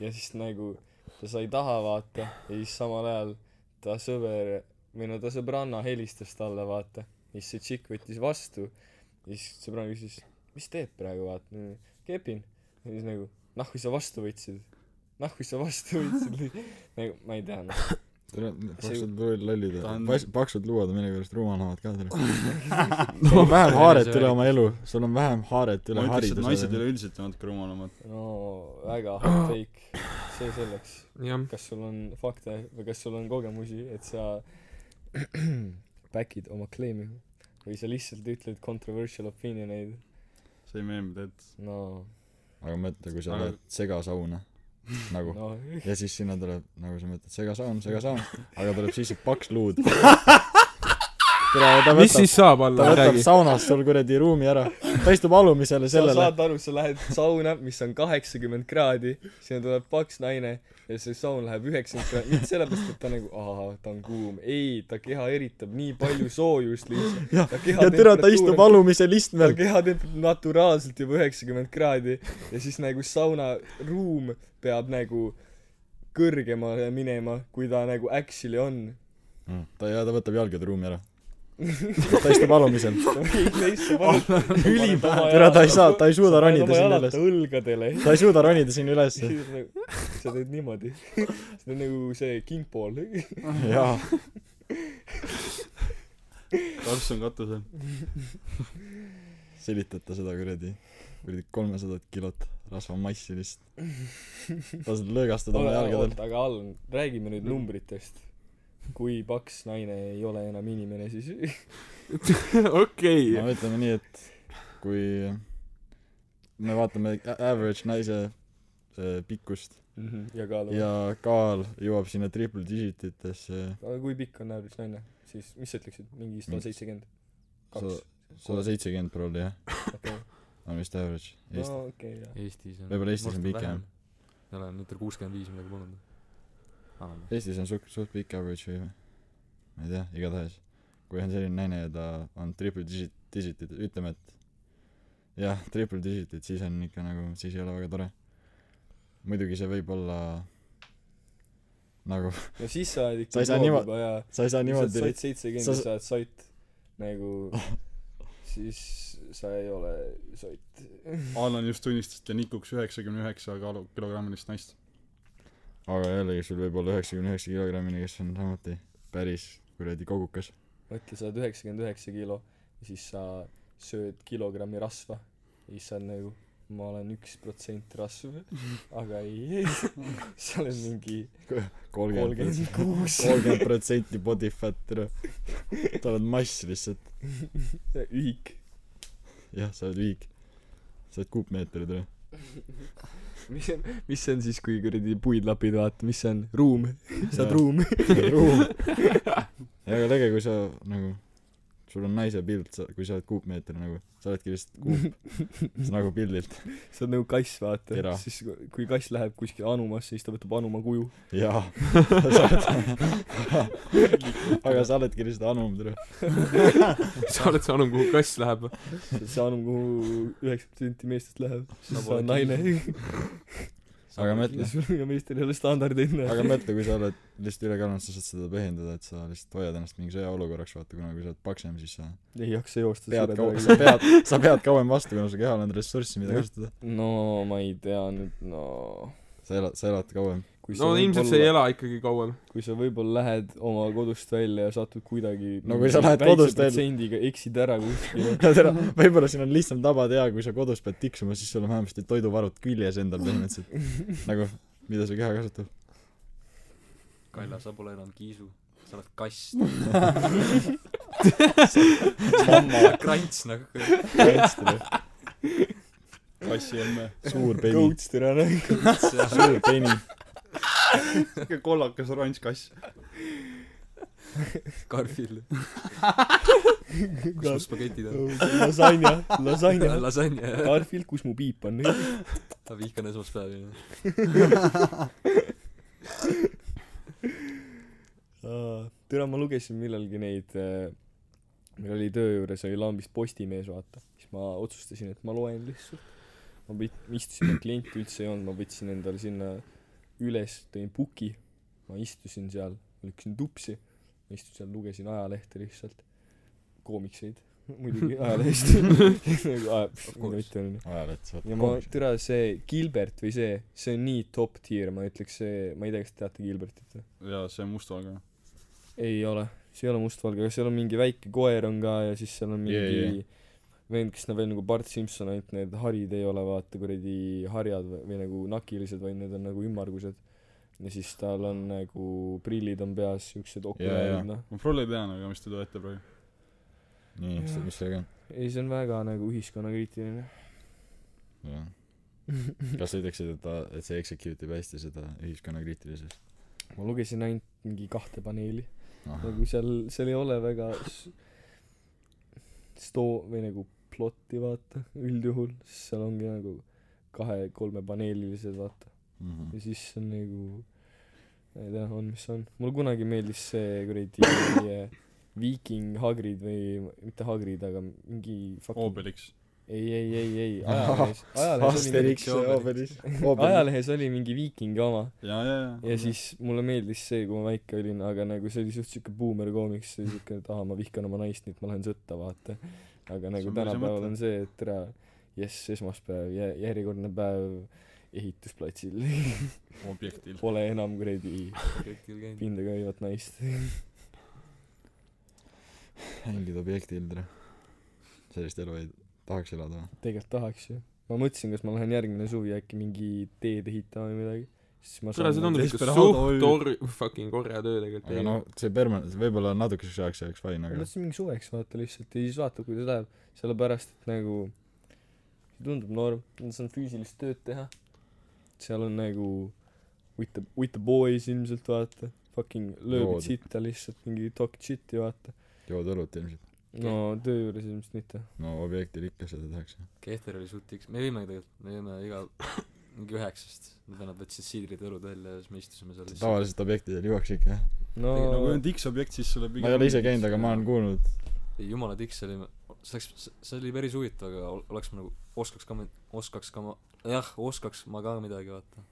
S3: ja siis nagu ta sai taha vaata ja siis samal ajal ta sõber või no ta sõbranna helistas talle vaata ja siis see tšikk võttis vastu ja siis sõbranna küsis mis teed praegu vaata ja kepin ja siis nagu noh kui sa vastu võtsid noh kui sa vastu võtsid nagu ma ei tea noh
S2: tere paksud luud lollid
S5: Ta on-
S2: Pas- paksud luuad on millegipärast rumalad ka
S5: (laughs)
S2: tere sul on vähem haaret üle oma elu sul on vähem haaret
S5: ma
S2: üle
S5: ütleks , et naised
S2: hariduse
S5: üleüldiselt on natuke rumalamad .
S3: no väga hot take see selleks
S4: jah ,
S3: kas sul on fakte või kas sul on kogemusi , et sa (clears throat) back'id oma claim'i või sa lihtsalt ütled controversial opinion eid ?
S5: see meem teed .
S3: no ,
S2: aga mõtle kui sa
S5: Aga-
S2: lähed segasauna nagu
S3: no
S2: ja siis sinna tuleb nagu sa mõtled segasaun segasaun aga tuleb sisse paks
S5: (laughs)
S2: luud tere ta
S4: mis
S2: võtab
S4: siis saab
S2: ta
S4: olla ,
S2: võtab
S4: räägi .
S2: saunast sul kuradi ruumi ära ta istub alumisele
S3: sa
S2: sellele
S3: saad aru , sa lähed sauna , mis on kaheksakümmend kraadi , sinna tuleb paks naine ja see saun läheb üheksakümmend kraadi , mitte sellepärast , et ta nagu ahah , ta on kuum , ei , ta keha eritab nii palju soojust lihtsalt .
S2: (laughs) ja ja tere ta istub alumisel
S3: tal
S2: istmel
S3: keha teeb naturaalselt juba üheksakümmend kraadi ja siis nagu saunaruum peab nagu kõrgemale minema , kui ta nagu actually on .
S2: Mm. ta ja ta võtab jalgade ruumi
S5: (laughs)
S2: ära ta istub alumisel tere (laughs)
S3: ülipäev
S2: ta ei saa ta ei suuda ronida sinna üles
S3: jalata õlgadele .
S2: ta ei suuda ronida sinna
S3: (laughs)
S5: (laughs)
S2: ülesse
S3: sa teed nagu- niimoodi . (laughs) see on nagu see kingpool .
S2: jaa
S5: Karps on katusel .
S2: silitad ta seda kuradi kuradi kolmesadat kilot rasvamassi lihtsalt lased
S3: (laughs)
S2: lõõgastada oma jalgadel
S3: oota , aga all , räägime nüüd numbritest . kui paks naine ei ole enam inimene , siis (laughs)
S4: okei ,
S2: no ütleme nii , et kui me vaatame a- average naise äh, pikkust
S3: ja kaalu .
S2: ja kaal jõuab sinna triple digititesse
S3: aga kui pikk on average naine , siis mis sa ütleksid , mingi sada seitsekümmend ? kaks
S2: Sa- . sada seitsekümmend prolli jah
S3: okei ,
S2: on vist average Eestis
S3: no okei okay, , jah .
S6: Eestis on
S2: Võib-olla Eestis on
S6: Must
S2: pikem.
S6: vähem. ei ole nüüd on kuuskümmend viis midagi polnud anname
S2: Eestis on suht suht pikk average või vä? ma ei tea igatahes kui on selline naine ja ta on triple digit digitid ütleme et jah triple digitid siis on ikka nagu siis ei ole väga tore muidugi see võib olla nagu
S3: no siis sa
S2: Sa
S3: oled ikka
S2: ei saa niimoodi-
S3: juba ja
S2: sa (laughs) ei saa niimoodi
S3: sa oled
S2: rit-
S3: seitsekümmend
S2: sa-
S3: ja sa oled sott nagu
S2: (laughs)
S3: siis sa ei ole sott
S5: Alan just tunnistas , et ta nikuks üheksakümne üheksa kaalu , kilogrammilist naist .
S2: aga jällegi sul võib olla üheksakümne üheksa kilogrammine kes on samuti päris kuradi kogukas
S3: mõtle sa oled üheksakümmend üheksa kilo ja siis sa sööd kilogrammi rasva ja siis sa oled nagu ma olen üks protsent rasv aga ei ei sa oled mingi
S2: kolmkümmend
S3: kolmkümmend kuus
S2: kolmkümmend protsenti body fat tere sa oled mass lihtsalt
S3: ühik
S2: jah sa oled viik sa oled kuupmeeter tere
S3: mis see mis see on siis kui kuradi puid lapid vaata mis see on ruum sa
S2: Jaa.
S3: oled ruum
S2: ruum ei aga lege kui sa nagu sul on naise pilt sa kui sa oled kuupmeeter nagu sa oledki lihtsalt kuup s- nagu pildilt
S3: sa oled nagu kass vaata
S2: Tera.
S3: siis kui- kui kass läheb kuskile anumasse siis ta võtab anuma kuju
S2: jaa Sa oled- aga sa oledki lihtsalt anum tere
S4: (laughs) sa oled saanud , kuhu kass läheb või ?
S3: see see annab kuhu üheksakümmend protsenti meestest läheb siis sa
S6: pole
S3: oled naine
S2: aga mõtle
S3: ja meestel ei ole standardeid
S2: aga
S3: näe
S2: mõtle kui sa oled lihtsalt ülekaalus sa saad seda põhjendada et sa lihtsalt hoiad ennast mingi sõjaolukorraks vaata kuna kui sa oled paksem siis sa
S3: ei jaksa joosta
S2: pead
S3: suure
S2: kaua
S3: toega.
S2: sa pead sa pead kauem vastu kuna su kehal on ressurssi mida kasutada
S3: no ma ei tea nüüd no
S2: sa elad sa elad kauem
S3: kui
S4: no ilmselt sa ei ela ikkagi kauem .
S3: kui sa võibolla lähed oma kodust välja ja satud kuidagi
S2: No kui sa lähed kodust välja-
S3: protsendiga eksid ära
S2: (laughs)
S3: kuskile (laughs)
S2: no tere , võibolla siin on lihtsam tabada ja kui sa kodus pead tiksuma , siis sul on vähemasti toiduvarud küljes endal põhimõtteliselt . nagu , mida su keha kasutab .
S6: Kaila sa pole enam kiisu sa oled kass krants nagu kurat.
S5: kassi emme .
S2: suur peeni ,
S3: kõuts türa näe
S2: suur peeni .
S5: sihuke kollakas oranž kass .
S6: Garfield kus mu spagetid on
S3: lasanja lasanja
S4: (laughs)
S6: lasanje jah.
S3: Garfield kus mu piip on
S6: ma vihkan esmaspäevi jah.
S3: Aa, türa ma lugesin millalgi neid äh, meil oli töö juures oli lambist Postimees vaata siis ma otsustasin et ma loen lihtsalt ma võt- istusin ma klienti üldse ei olnud ma võtsin endale sinna üles tõin puki ma istusin seal lükkasin tupsi ma istusin seal lugesin ajalehte lihtsalt koomikseid (laughs) muidugi ajalehest nagu aja- mida mitte onju
S2: ajaleht saab
S3: ja ma . türa see Gilbert või see see on nii top tier ma ütleks see ma ei tea kas te teate Gilbertit või
S5: ja see mustvalge .
S3: ei ole , see ei ole mustvalge , aga seal on mingi väike koer on ka ja siis seal on mingi
S2: Jaa,
S3: yeah, yeah. vend , kes näeb välja nagu Bart Simson , ainult need harid ei ole vaata kuradi harjad või, või nagu nakilised , vaid need on nagu ümmargused . ja siis tal on nagu prillid on peas , siuksed
S2: jaa.
S3: okulaarid noh .
S5: ma prolli ei teadnud , aga mis te teete praegu ?
S2: nii , mis see , mis see
S3: ei , see on väga nagu
S2: (laughs)
S3: ühiskonnakriitiline .
S2: on ? kas sa ütleksid , et ta , et see execute ib hästi seda ühiskonnakriitilisust ?
S3: ma lugesin ainult mingi kahte paneeli , nagu seal , seal ei ole väga s- sto- või nagu plotti vaata üldjuhul , siis seal ongi nagu kahe-kolmepaneelilised vaata .
S2: Mhm.
S3: ja siis see on nagu ma ei tea on mis on mulle kunagi meeldis see kuradi eh, viiking Hagrid või mitte Hagrid aga mingi fucking-
S5: Obelix .
S3: ei ei ei ei
S2: (laughs)
S3: ajalehes ajalehes oli
S2: Asterix ja Obelix .
S3: mingi ajalehes oli mingi viikingi oma
S5: ja , ja , ja .
S3: ja siis mulle meeldis see kui ma väike olin aga nagu see oli suht siuke buumer koomiks see oli siuke et aa ma vihkan oma naist nii et ma lähen sõtta vaata aga
S5: See
S3: nagu
S5: on päris hea
S3: tänapäeval
S5: mõte.
S3: on see et tere jess esmaspäev jä- järjekordne päev ehitusplatsil
S5: objektil .
S3: (laughs) pole enam kuradi
S6: objektil käinud
S3: pinda käivat naist (laughs)
S2: hängid objekti ildre . sellist elu ei tahaks elada või ?
S3: tegelikult tahaks ju ma mõtlesin kas ma lähen järgmine suvi äkki mingi teed ehitama või midagi siis ma
S4: kuule , see tundub ikka
S5: Desperado
S4: suht
S5: OÜ.
S4: tor- , fucking orja töö tegelikult
S2: aga . noh , see permanent , võib-olla natukeseks ajaks see oleks fine ,
S3: ma
S2: aga
S3: mõtlesin mingi suveks vaata lihtsalt ja siis vaatab kuidas läheb sellepärast et nagu tundub norm , ma saan füüsilist tööd teha . seal on nagu with the , with the boys ilmselt vaata , fucking lööbid
S2: Lood.
S3: sitta lihtsalt , mingi talk shit'i vaata .
S2: jood õlut ilmselt .
S3: no töö juures ilmselt mitte .
S2: no objektil ikka seda tehakse .
S6: Kehter oli suht tiks , me jõimegi tegelikult , me jõime iga mingi üheksast , nad võtsid siidrid ja õlud välja ja siis me istusime seal lihtsalt
S2: tavaliselt objektidel juuakse ikka jah .
S3: no
S5: no
S6: nagu
S5: kui on tiksobjekt , siis sulle
S2: ma ei ole ise käinud , aga ma olen kuulnud .
S6: ei jumala tiks oli , see läks , see oli päris huvitav , aga ol- oleks ma nagu , oskaks ka , oskaks ka ma , jah , oskaks ma ka midagi vaata .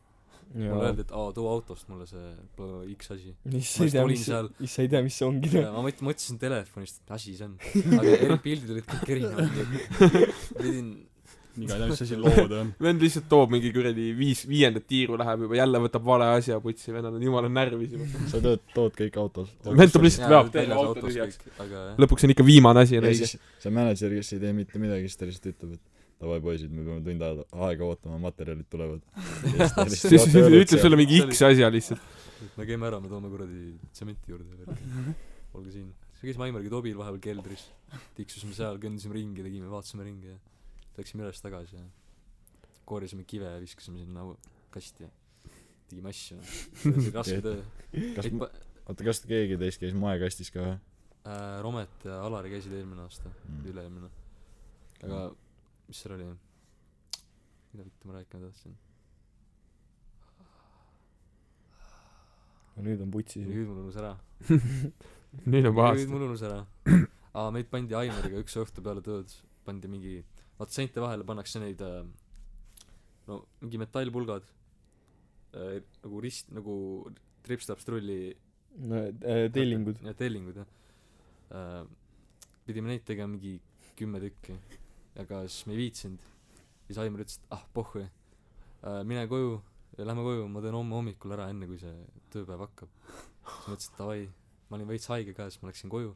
S6: mulle öeldi , et aa , too autost mulle see pla- X asi .
S3: issand , ei tea ,
S6: olin
S3: mis
S6: seal- ,
S3: issand , ei tea , mis see ongi .
S6: ja ma mõt- , mõtlesin telefonist , et mis asi see on . aga eri pildid olid kõik erinevad . pidin ,
S5: iga ei tea , mis asi lood on .
S4: vend lihtsalt toob mingi kuradi viis , viiendat tiiru läheb juba , jälle võtab vale asja , putsi , vennal on jumala närvis juba .
S2: sa teed , tood kõik autos .
S4: (laughs) vend tuleb lihtsalt
S6: jaa ,
S4: veab
S6: väljas
S4: terve auto
S6: autos
S4: tühjaks .
S6: kõik , aga jah .
S4: lõpuks on ikka viimane asi on
S2: ja
S4: õige .
S2: siis see mänedžer , kes ei tee mitte midagi , siis ta lihtsalt ütleb , et davai poisid , me peame tund aega aega ootama , materjalid
S5: (laughs)
S2: tulevad . (laughs)
S4: siis ütleb sulle mingi
S6: See oli-
S4: X asja lihtsalt .
S6: me käime ära , me toome kuradi tsementi juurde veel . olge siin . siis me käisime Aimariga Tobil vahepeal keldris , tiksusime seal , kõndisime ringi , tegime , vaatasime ringi ja läksime üles-tagasi ja koorisime kive ja viskasime sinna au- kasti ja tegime asju . see oli raske töö .
S2: kas ,
S6: Pa-
S2: oota , kas keegi teist käis moekastis ka või ?
S6: äh, Romet ja Alari käisid eelmine aasta mm. ,
S2: Mm.
S6: üle-eelmine . aga mis seal oli ? mida vittu ma rääkima tahtsin ?
S3: nüüd on putsi siin .
S6: nüüd mul unus ära .
S4: nüüd on
S6: nüüd
S4: pahasti .
S6: mul unus ära aa meid pandi Aimariga üks õhtu peale tööd pandi mingi vaat seinte vahele pannakse neid äh, no mingi metallpulgad äh, nagu rist nagu trips-taps trulli
S3: no äh, tellingud .
S6: ja tellingud jah äh, pidime neid tegema mingi kümme tükki aga siis me ei viitsinud siis Aimar ütles et ah pohhu äh, mine koju ja lähme koju ma teen homme hommikul ära enne kui see tööpäev hakkab siis ma ütlesin et davai ma olin veits haige ka siis ma läksin koju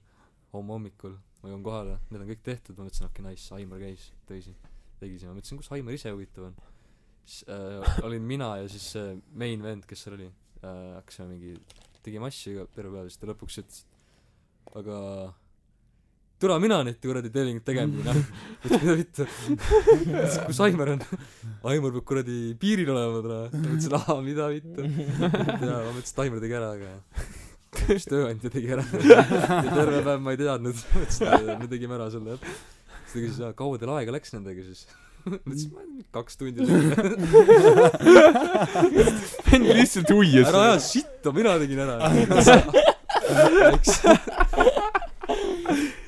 S6: homme hommikul ma jõuan kohale need on kõik tehtud ma mõtlesin okei okay, nice Aimar käis tõi siin tegi siin ma mõtlesin kus Aimar ise huvitav on siis äh, olin mina ja siis see main vend kes seal oli äh, hakkasime mingi tegime asju iga terve päev siis ta lõpuks ütles et aga türa mina neid kuradi tellingut tegema pidin jah ütles mida vittu ütles kus Aimar on Aimar peab kuradi piiril olema täna ma ütlesin aa mida vittu ja ma mõtlesin et Aimar tegi ära aga üks tööandja tegi ära ja terve päev ma ei teadnud mõtlesin et me tegime ära selle jah siis ta küsis aa kaua teil aega läks nendega siis ma ütlesin ma ei tea kaks tundi
S4: (laughs) vend lihtsalt huias .
S6: ära aja sitta , mina tegin ära . eks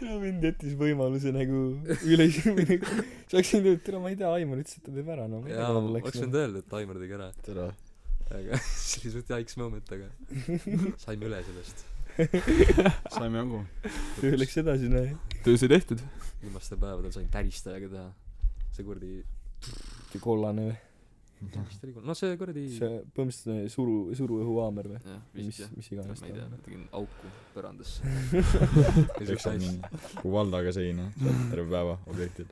S3: ja mind jättis võimaluse nagu üle sa oleksid öelnud tere ma ei tea Aimar ütles et ta teeb ära no ma ei tea
S6: jaa ,
S3: kuhu ta
S6: oleks
S3: läks
S6: võinud
S3: noh.
S6: öelda , et Taimar tegi ära ,
S2: tere .
S6: aga see oli suht jaiks moment , aga saime üle sellest
S5: saime jagu .
S3: töö läks edasi noh
S4: töö sai tehtud .
S6: viimastel päevadel sain täristajaga teha see kuradi
S3: see kollane või
S6: vist oli kol- no see kuradi
S3: see põhimõtteliselt see suru suruõhuhaamer või
S6: jah
S3: või
S6: vist
S3: mis
S6: jah
S3: mis iganes
S6: ma ei
S3: ta
S6: tea
S3: on
S6: noh. ma tegin auku
S3: (laughs)
S6: põrandasse ja
S2: eks
S6: siukse
S2: saab
S6: asja
S2: mingi kuvaldaga seina , terve päeva objektil .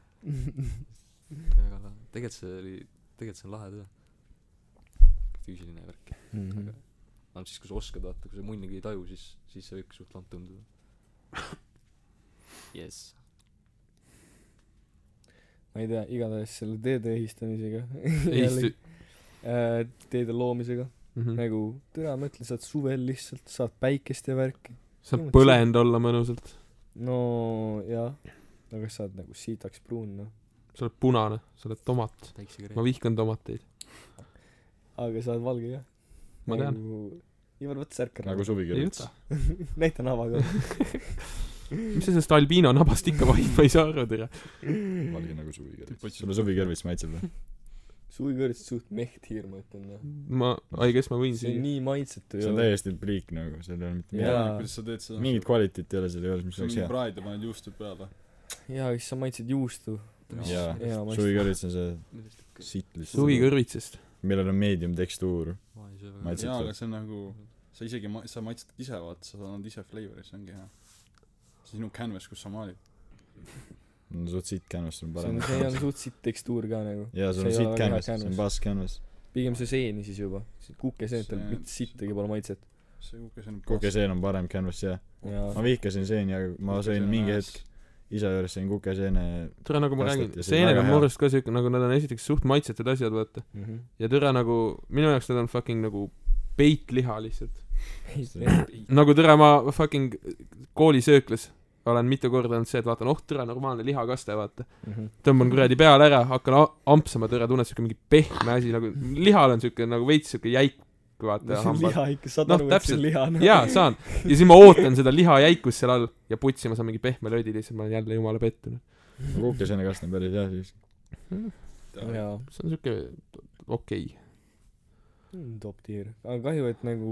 S6: väga lahe tegelikult see oli tegelikult see on lahe töö füüsiline värk
S3: Mhm.
S6: aga siis kui sa oskad vaata kui sa munnigi ei taju siis siis see võibki suht lamp
S3: (laughs)
S6: tunduda jess
S3: ma ei tea igatahes selle teede
S6: (laughs)
S3: ehistamisega
S4: Ehitus- .
S3: Äh, teede loomisega
S6: Mhm.
S4: Mhm.
S3: nagu tere ma ütlen sa oled suvel lihtsalt saad päikest ja värki
S4: saab põlenud olla mõnusalt .
S3: no jah aga sa oled nagu sitaks pruun noh
S4: sa oled punane , sa oled tomat .
S6: väiksega
S4: ma
S6: reis
S4: vihkan tomateid .
S3: aga sa oled valge ka
S4: Ma tean.
S3: Nagu- Ivar võta särk ära
S2: nagu
S4: ei
S2: suvikirjutis
S4: võta ..
S3: näita nabaga
S4: mis sa sellest albiino nabast ikka vahid , ma ei saa aru , tere .
S2: valge nagu suvikirjutis . sulle suvikirjutis maitseb või ?
S3: suvikõrts suht meht hiir ma ütlen jah
S4: ma , ai , kes ma võin
S3: see on
S4: siin .
S3: nii maitsetu
S2: see on täiesti pliik nagu , seal ei ole mitte midagi .
S3: jaa
S5: kuidas sa teed seda ?
S2: mingit kvaliteeti ei ole seal juures , mis
S5: see on
S2: oleks
S5: mingi
S2: hea .
S5: praad ja paned juustu peale .
S3: jaa siis sa maitsed juustu
S2: jaa
S3: jaa , maitsed
S2: suvikirjutis on see
S6: millest ikka
S2: sitt lihtsalt , nagu-
S4: suvikõrvitsest .
S2: millel on meedium tekstuur .
S6: ma ei söö
S2: Ma
S6: väga
S2: ei-
S5: jaa , aga see on nagu , sa isegi ma- , sa maitsed ise , vaata , sa annad ise flavor'i , see ongi hea . see sinu canvas , kus sa maalid .
S2: suht sitt canvas on
S3: see on
S2: parem .
S3: see on suht sitt tekstuur ka nagu
S2: jaa , sul on
S3: see ei
S2: sitt
S3: ole väga
S2: canvas ,
S3: hea
S2: see on
S3: canvas.
S2: bass canvas .
S3: pigem see seeni siis juba see kukeseentel
S5: See-
S3: mitte sittagi pole maitset
S5: see kukes on
S2: kukeseen on parem canvas jah .
S3: jaa
S2: ma vihkasin seeni , aga ma sõin mingi hetk , isa juures sain kukeseene
S4: tore , nagu ma räägin
S2: Kastet ja , see on
S4: seened
S2: väga
S4: on
S2: hea.
S4: mu arust ka siuke , nagu nad on esiteks suht maitsetud asjad , vaata .
S3: Mhm.
S4: ja tore nagu , minu jaoks nad on fucking nagu peitliha lihtsalt . nagu tore , ma fucking koolisööklas olen mitu korda olnud see , et vaatan , oh tore , normaalne lihakaste , vaata .
S3: Mhm.
S4: tõmban kuradi peale ära , hakkan a- ampsama , tore , tunned siuke mingi pehme asi nagu , lihal on siuke nagu veits siuke jäik ,
S2: (laughs)
S4: vaata .
S3: liha ikka , saad
S4: Noh,
S3: aru , et see
S4: täpselt.
S3: on liha , noh .
S4: jaa , saan . ja siis ma ootan seda liha jäikust seal all ja putsi , ma saan mingi pehme löödi lihtsalt , ma olen jälle jumala pettunud .
S2: kukeseene kast on päris hea siis
S3: jaa ,
S4: see on siuke okei okay. .
S3: Mm, top tier . aga kahju , et nagu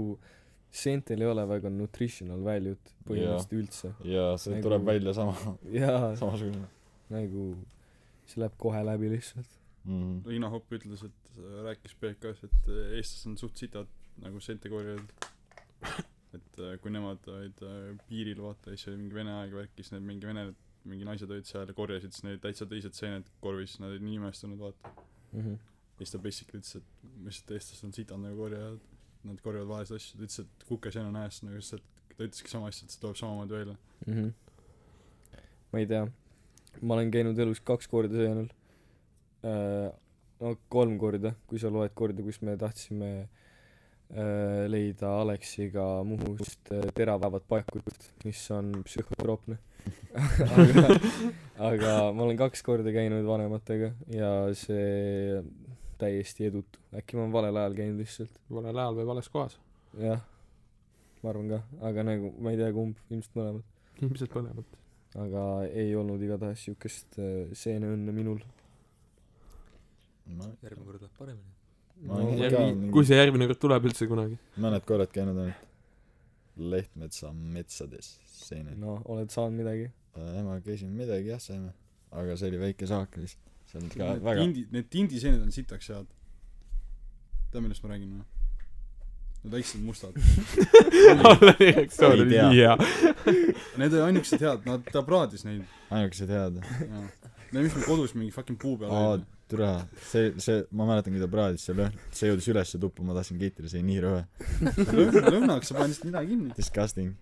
S3: seentel ei ole väga nutritional value't põhimõtteliselt üldse .
S2: ja see
S3: Nagu-
S2: nagu... tuleb välja sama
S3: jaa ,
S2: samasugune
S3: nagu see läheb kohe läbi lihtsalt .
S2: mm.
S5: Liina Hopp ütles , et äh, rääkis PKS , et äh, eestlased on suht sitad nagu sentekooriad . et äh, kui nemad olid äh, piiril , vaata , siis oli mingi vene aeg värk , siis need mingi vene , mingi naised olid seal ja korjasid , siis neil olid täitsa teised seened korvis , nad olid nii imestunud , vaata .
S3: Mhm.
S5: ja siis ta basically ütles , et mis , et eestlased on sitad nagu korjajad , nad korjavad vaeseid asju , ta ütles , et kukeseen on ääres , nagu lihtsalt ta ütleski sama asja , et see tuleb samamoodi välja .
S3: ma ei tea , ma olen käinud elus kaks korda seenel äh, . no kolm korda , kui sa loed korda , kus me tahtsime äh, leida Aleksiga Muhust äh, teravaevad paekut , mis on psühhotroopne . aga , aga ma olen kaks korda käinud vanematega ja see täiesti edutu , äkki ma olen valel ajal käinud lihtsalt .
S4: valel ajal või vales kohas . (laughs)
S3: jah , ma arvan ka , aga nagu ma ei tea , kumb , ilmselt mõlemad .
S4: ilmselt põnevat .
S3: aga ei olnud igatahes siukest äh, seeneõnne minul
S2: ma
S6: järgmine kord läheb paremini .
S2: Ma
S3: No,
S2: ei
S3: ma
S2: tea.
S3: ka-
S2: mingi-
S4: kui see järgmine kord tuleb üldse kunagi .
S2: mõned korrad käinud ainult Lehtmetsa metsades seenel
S3: no oled saanud midagi
S2: emaga käisime midagi jah saime aga see oli väike saak lihtsalt see on ka
S5: Need
S2: väga
S5: tindi , need tindiseened on sitaks head . tead , millest ma räägin või ? Need väiksed mustad .
S4: Allan reaktsioon
S2: Ei
S4: oli
S2: tea.
S4: nii hea .
S5: Need olid ainukesed head , nad , ta praadis neid .
S2: ainukesed head
S5: Need , mis me kodus mingi fucking puu peal
S2: aa
S5: olid .
S2: türa see see ma mäletan kui ta praadis seal üh- see jõudis ülesse tuppa ma tahtsin keitida see oli nii rõve
S5: lõhna , lõhnaks sa paned lihtsalt nina kinni .
S2: disgusting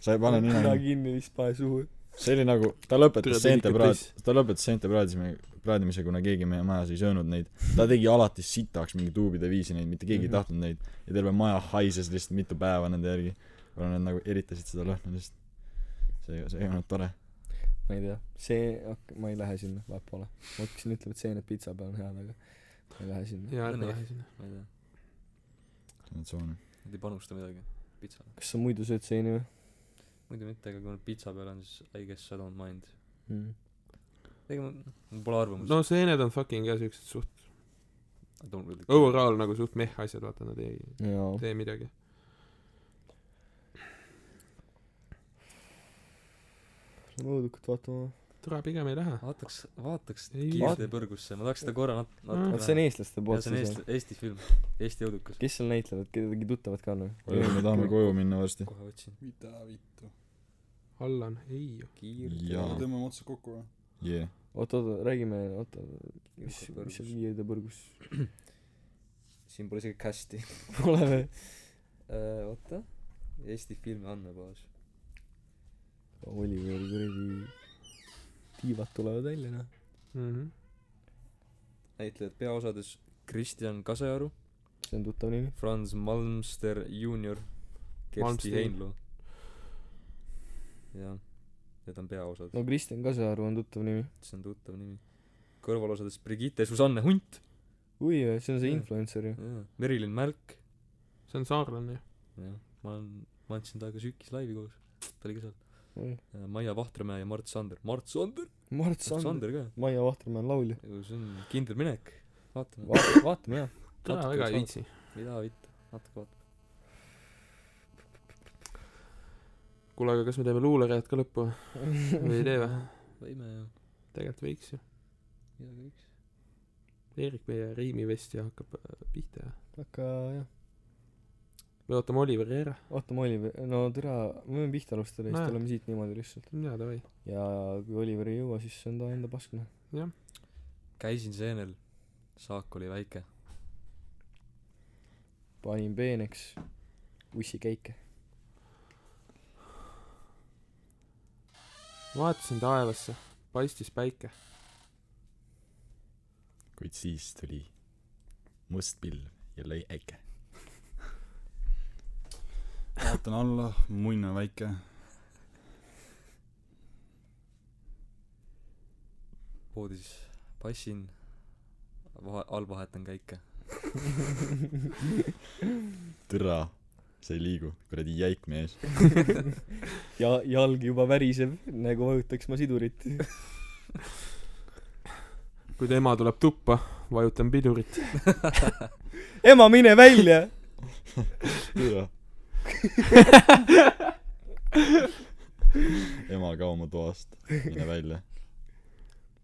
S2: sa ei pane nina
S3: nina
S2: kinni.
S3: kinni siis pane suhu
S2: see oli nagu ta lõpetas
S4: Türa,
S2: seente
S4: pisikene
S2: praad- ta lõpetas seente praadimise praadimise kuna keegi meie majas ei söönud neid ta tegi alati sitaks mingi tuubide viisi neid mitte keegi ei
S4: Mhm.
S2: tahtnud neid ja terve maja haises lihtsalt mitu päeva nende järgi kuna nad nagu eritasid seda lõhna lihtsalt see see ei olnud tore
S3: ma ei tea see ok- ma ei lähe sinna vahet pole ma hakkasin ütlema et seened pitsa peal on head aga ma ei lähe sinna
S4: jaa , ärme
S6: Õnne.
S4: lähe sinna .
S6: ma ei tea ,
S2: emotsioone
S6: nad ei panusta midagi pitsale .
S3: kas sa muidu sööd seeni või
S6: muidu mitte , aga kui nad pitsa peal on , siis I guess I don't mind .
S3: mm.
S6: ega ma , mul pole arvamust .
S4: no seened on fucking jah , siuksed suht
S6: I don't really care .
S4: overall nagu suht meh asjad , vaata nad ei
S3: jaa
S4: tee midagi .
S3: lähme õudukat vaatama
S4: tore , pigem ei lähe .
S6: vaataks , vaataks
S4: Ei.
S6: kiirte põrgusse , ma tahaks seda korra nat- ,
S4: Mm.
S6: natuke
S3: vot see on eestlaste
S6: näha. jaa ,
S3: poolt
S6: see on
S3: siis
S6: Eesti , Eesti film . Eesti õudukas .
S3: kes seal näitlevad kedagi tuttavat ka on
S2: Oi, me tahame
S3: või
S2: koju minna varsti
S6: kohe otsin .
S5: mida vittu .
S4: Allan , ei .
S2: jaa
S5: tõmbame otsad kokku või ?
S2: yeah.
S3: oot oot oot räägime oot mis mis seal viiede põrgus
S6: siin pole isegi cast'i .
S3: (laughs) pole või
S6: Äh, oota , Eesti filmi andmebaas .
S3: Oliveri kuradi tiivad tulevad välja noh
S4: Mhm.
S6: näitlejad peaosades Kristjan Kasearu ,
S3: see on tuttav nimi
S6: Franz Malmster Junior , Kersti
S4: Malmsteen.
S6: Heinlo . jah , need on peaosad
S3: no
S6: no. ,
S3: Kristjan Kasearu on tuttav nimi
S6: see on tuttav nimi . kõrvalosades Brigitte Susanne Hunt ,
S3: ui vä, see on see
S6: Jah.
S3: influencer ju
S6: Merilin Mälk ,
S4: see on saarlane ju .
S6: jah , ma olen , ma andsin temaga Sükis laivi koos , ta oli ka seal .
S3: Oi.
S6: Maia Vahtramäe ja Mart Sander , Mart Sander ,
S3: Mart
S6: Mart
S3: Sander
S6: Sander ka ,
S3: Maia Vahtramäe on laulja
S6: see on kindel minek , vaatame ,
S3: vaata- vaatame jah
S4: tore ,
S3: Natuke
S4: väga
S3: saad.
S4: ei viitsi .
S6: mida vittu , natuke vaatame .
S4: kuule , aga kas me teeme luulerajad ka lõppu või? või ei tee või ?
S6: võime ju ,
S4: tegelikult võiks ju .
S6: midagi võiks .
S4: Eerik , meie riimivestja hakkab äh, pihta ja
S3: (laughs) aga jah
S4: me ootame Oliveri ära .
S3: ootame Oliveri no tere me võime pihta alustada ja
S4: Nojah.
S3: siis tuleme siit niimoodi lihtsalt
S4: jaa , davai .
S3: ja kui Oliver ei jõua siis see on ta enda pask noh
S6: käisin seenel , saak oli väike ,
S3: panin peeneks (laughs) ussikäike
S4: vaatasin taevasse , paistis päike .
S2: kuid siis tuli must pilv ja lõi äike .
S5: vaatan alla , munn on väike .
S6: poodis passin , vahe , all vahetan käike .
S2: türa , sa ei liigu , kuradi jäik mees .
S3: ja jalg juba väriseb , nagu vajutaks ma sidurit .
S4: kui ta ema tuleb tuppa , vajutan pidurit . (laughs)
S3: ema , mine välja !
S2: türa . ema , kao mu toast , mine välja .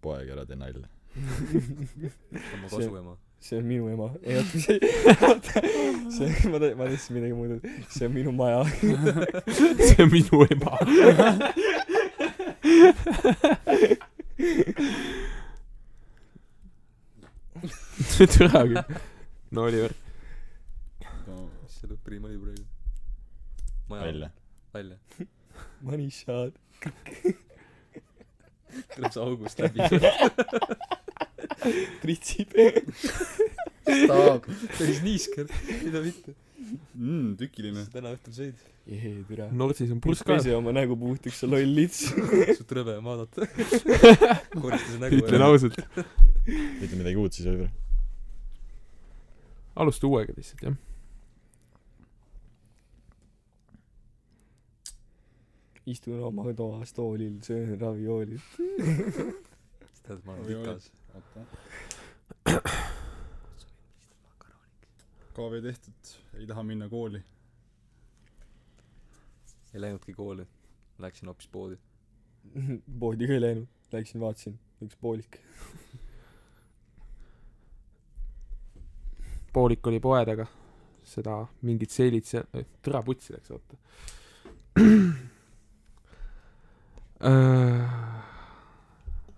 S2: poeg , ära tee nalja .
S6: oma
S3: See-
S6: kasuema .
S3: see on minu ema . ei oota , see , see , ma tahtsin , ma tahtsin midagi muud , see on minu maja .
S4: see on minu ema . türa küll . no Oliver ,
S6: mis see lõppriim oli praegu ? maja .
S2: välja .
S6: välja .
S3: Money shot .
S6: tuleb see august
S3: (laughs)
S6: läbi .
S3: pritsib .
S2: staab .
S6: päris niisker . mida mitte .
S5: mm, . tükiline .
S6: täna õhtul sõid .
S3: jee , türa .
S4: Norsis on pursk ka .
S3: pese oma nägu puhtaks , sa loll lits .
S6: suht rõve on (laughs) vaadata . koristasin nägu
S4: ütlen . ausalt ,
S2: ütle midagi uut siis , Oliver .
S4: alusta uuega lihtsalt jah .
S3: istun oma toas toolil , söön ravioolit .
S6: tead , ma olen rikas .
S5: oota . KV tehtud , ei taha minna kooli .
S6: ei läinudki kooli . Läksin hoopis poodi .
S3: poodi ka ei läinud , läksin vaatasin , üks poolik .
S4: poolik oli poe taga , seda mingid seilid seal , türa putsi läks , (clears throat) oota . Äh,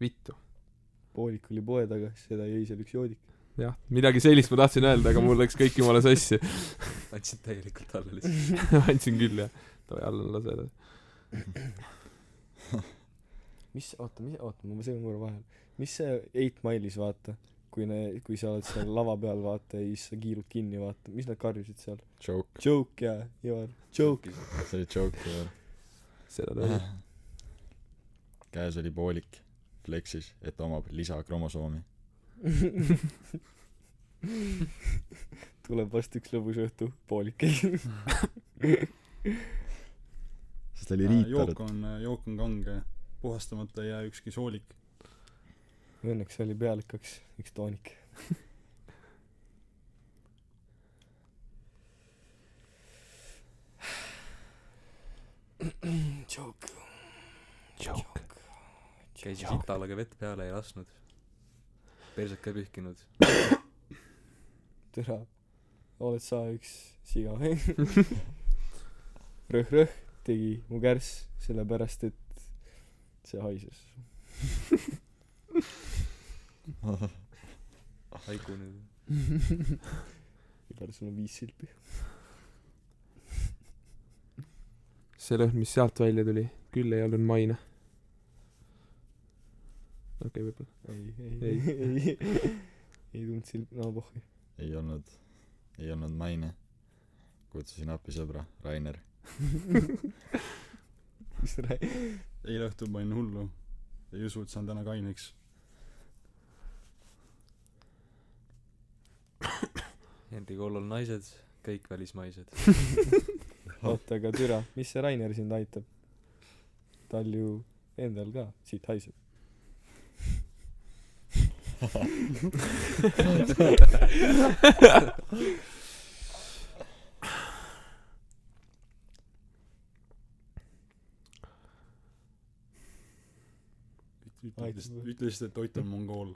S4: vittu ,
S3: poolik oli poe taga , seda jõi seal üks joodik .
S4: jah , midagi sellist ma tahtsin öelda , aga mul läks kõik jumala sassi . (laughs)
S6: andsid täielikult alla lihtsalt .
S4: andsin küll jah , davai alla lase edasi .
S3: mis , oota , mis , oota , ma segan korra vahele . mis see Eight Mile'is vaata , kui ne- , kui sa oled seal lava peal vaata ja siis sa kiirud kinni vaata , mis nad karjusid seal ?
S2: Joke ,
S3: Joke ja Ivar , joke . (laughs)
S2: see oli joke , Oliver .
S4: seda ta oli .
S2: käes oli poolik , flexis , et omab lisakromosoomi .
S3: tuleb varsti üks lõbus õhtu , poolik (laughs) ei .
S2: sest ta oli riitard
S5: Äh, jook . on , jook on kange . puhastamata ei jää ükski soolik .
S3: Õnneks oli pealikaks üks toonik . joke .
S4: Joke.
S6: käisin sitalaga vett peale , ei lasknud . perset ka ei pühkinud .
S3: türa , oled sa üks siga . rõh-rõh tegi mu kärss , sellepärast et see haises .
S6: haiku nüüd .
S3: Ivar , sul on viis silpi .
S4: see lõhn , mis sealt välja tuli , küll ei olnud maine . okei okay, , võib-olla .
S3: ei , ei , ei , ei tulnud silp , no pohhi .
S2: ei olnud , ei olnud maine . kutsusin appi sõbra , Rainer .
S3: mis sa räägid ?
S5: eile õhtul panin hullu . ei usu , et saan täna kaineks .
S6: Henri kollal naised , kõik välismaised .
S3: oota , aga türa , mis see Rainer sind aitab ? tal ju endal ka siit haiseb . Ai,
S5: ütlesid ,
S3: tule.
S5: ütlesid , et Ott on mongool .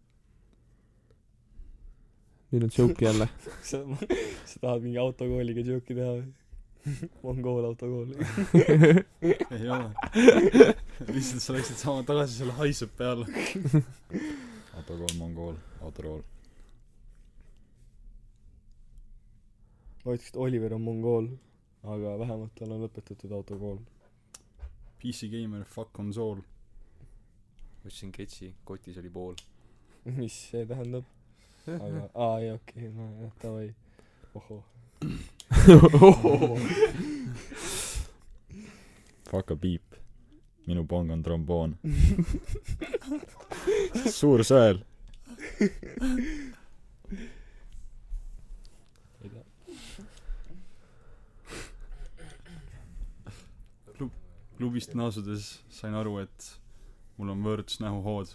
S5: (laughs)
S4: nüüd on joke jälle .
S3: sa , sa tahad mingi autokooliga joke'i teha või ? Mongool autokool .
S5: ei
S2: (laughs)
S5: ole . lihtsalt sa läksid sama tagasi selle haiseb peale .
S2: (laughs) autokool , mongool , autorool .
S3: ma ütleks , et Oliver on mongool . aga vähemalt tal on lõpetatud autokool .
S5: PC gamer , fuck console .
S6: ostsin ketsi , kotis oli pool .
S3: (laughs) mis see tähendab ? aga , aa ei okei okay, , no jah , davai . ohoh .
S2: Fuck a beep . minu pong on
S5: (laughs)
S2: tromboon . suur sõel .
S5: klubist naasudes sain aru , et mul on võõrts näohood .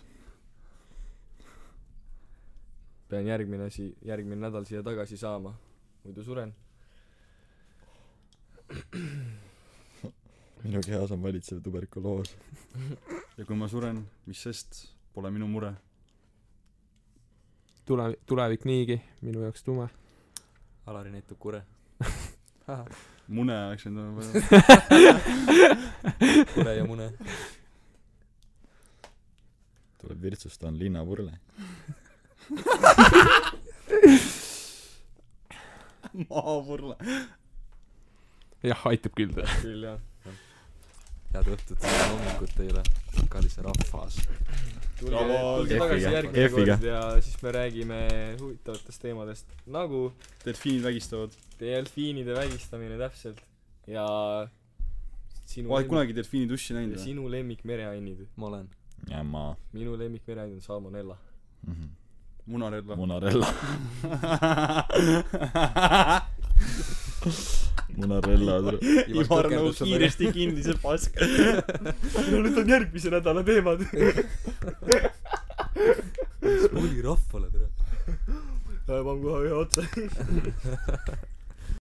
S7: pean järgmine asi , järgmine nädal siia tagasi saama , muidu suren .
S2: minu kehas on valitsev tuberkuloos .
S5: ja kui ma suren , mis sest , pole minu mure .
S4: tule , tulevik niigi , minu jaoks tume .
S6: Alari näitab kure .
S5: mune oleks võinud olla (laughs) palju .
S6: kure ja mune .
S2: tuleb virtsustan linnapurle .
S5: maapurle .
S4: jah , aitab küll .
S3: küll jah .
S6: head õhtut , head hommikut teile , kallis rahvas .
S3: tulge ,
S5: Davai.
S3: tulge
S2: F-iga.
S3: tagasi järgmine
S2: F-iga.
S3: kord ja siis me räägime huvitavatest teemadest nagu
S5: delfiinid vägistavad .
S3: delfiinide vägistamine täpselt ja sinu
S5: oled kunagi delfiini duši
S3: ja
S5: näinud (laughs) või ?
S3: sinu lemmik mereannid .
S6: ma olen .
S2: ja ma
S3: minu lemmik mereann on salmonella .
S2: mm -hmm. ,
S5: munarelva .
S2: munarella . munarella .
S5: Ivar nõus kiiresti kinni , see (laughs) pask . no nüüd on järgmise nädala teemad .
S6: oli rahvale , tere .
S3: paneme kohe ühe otsa .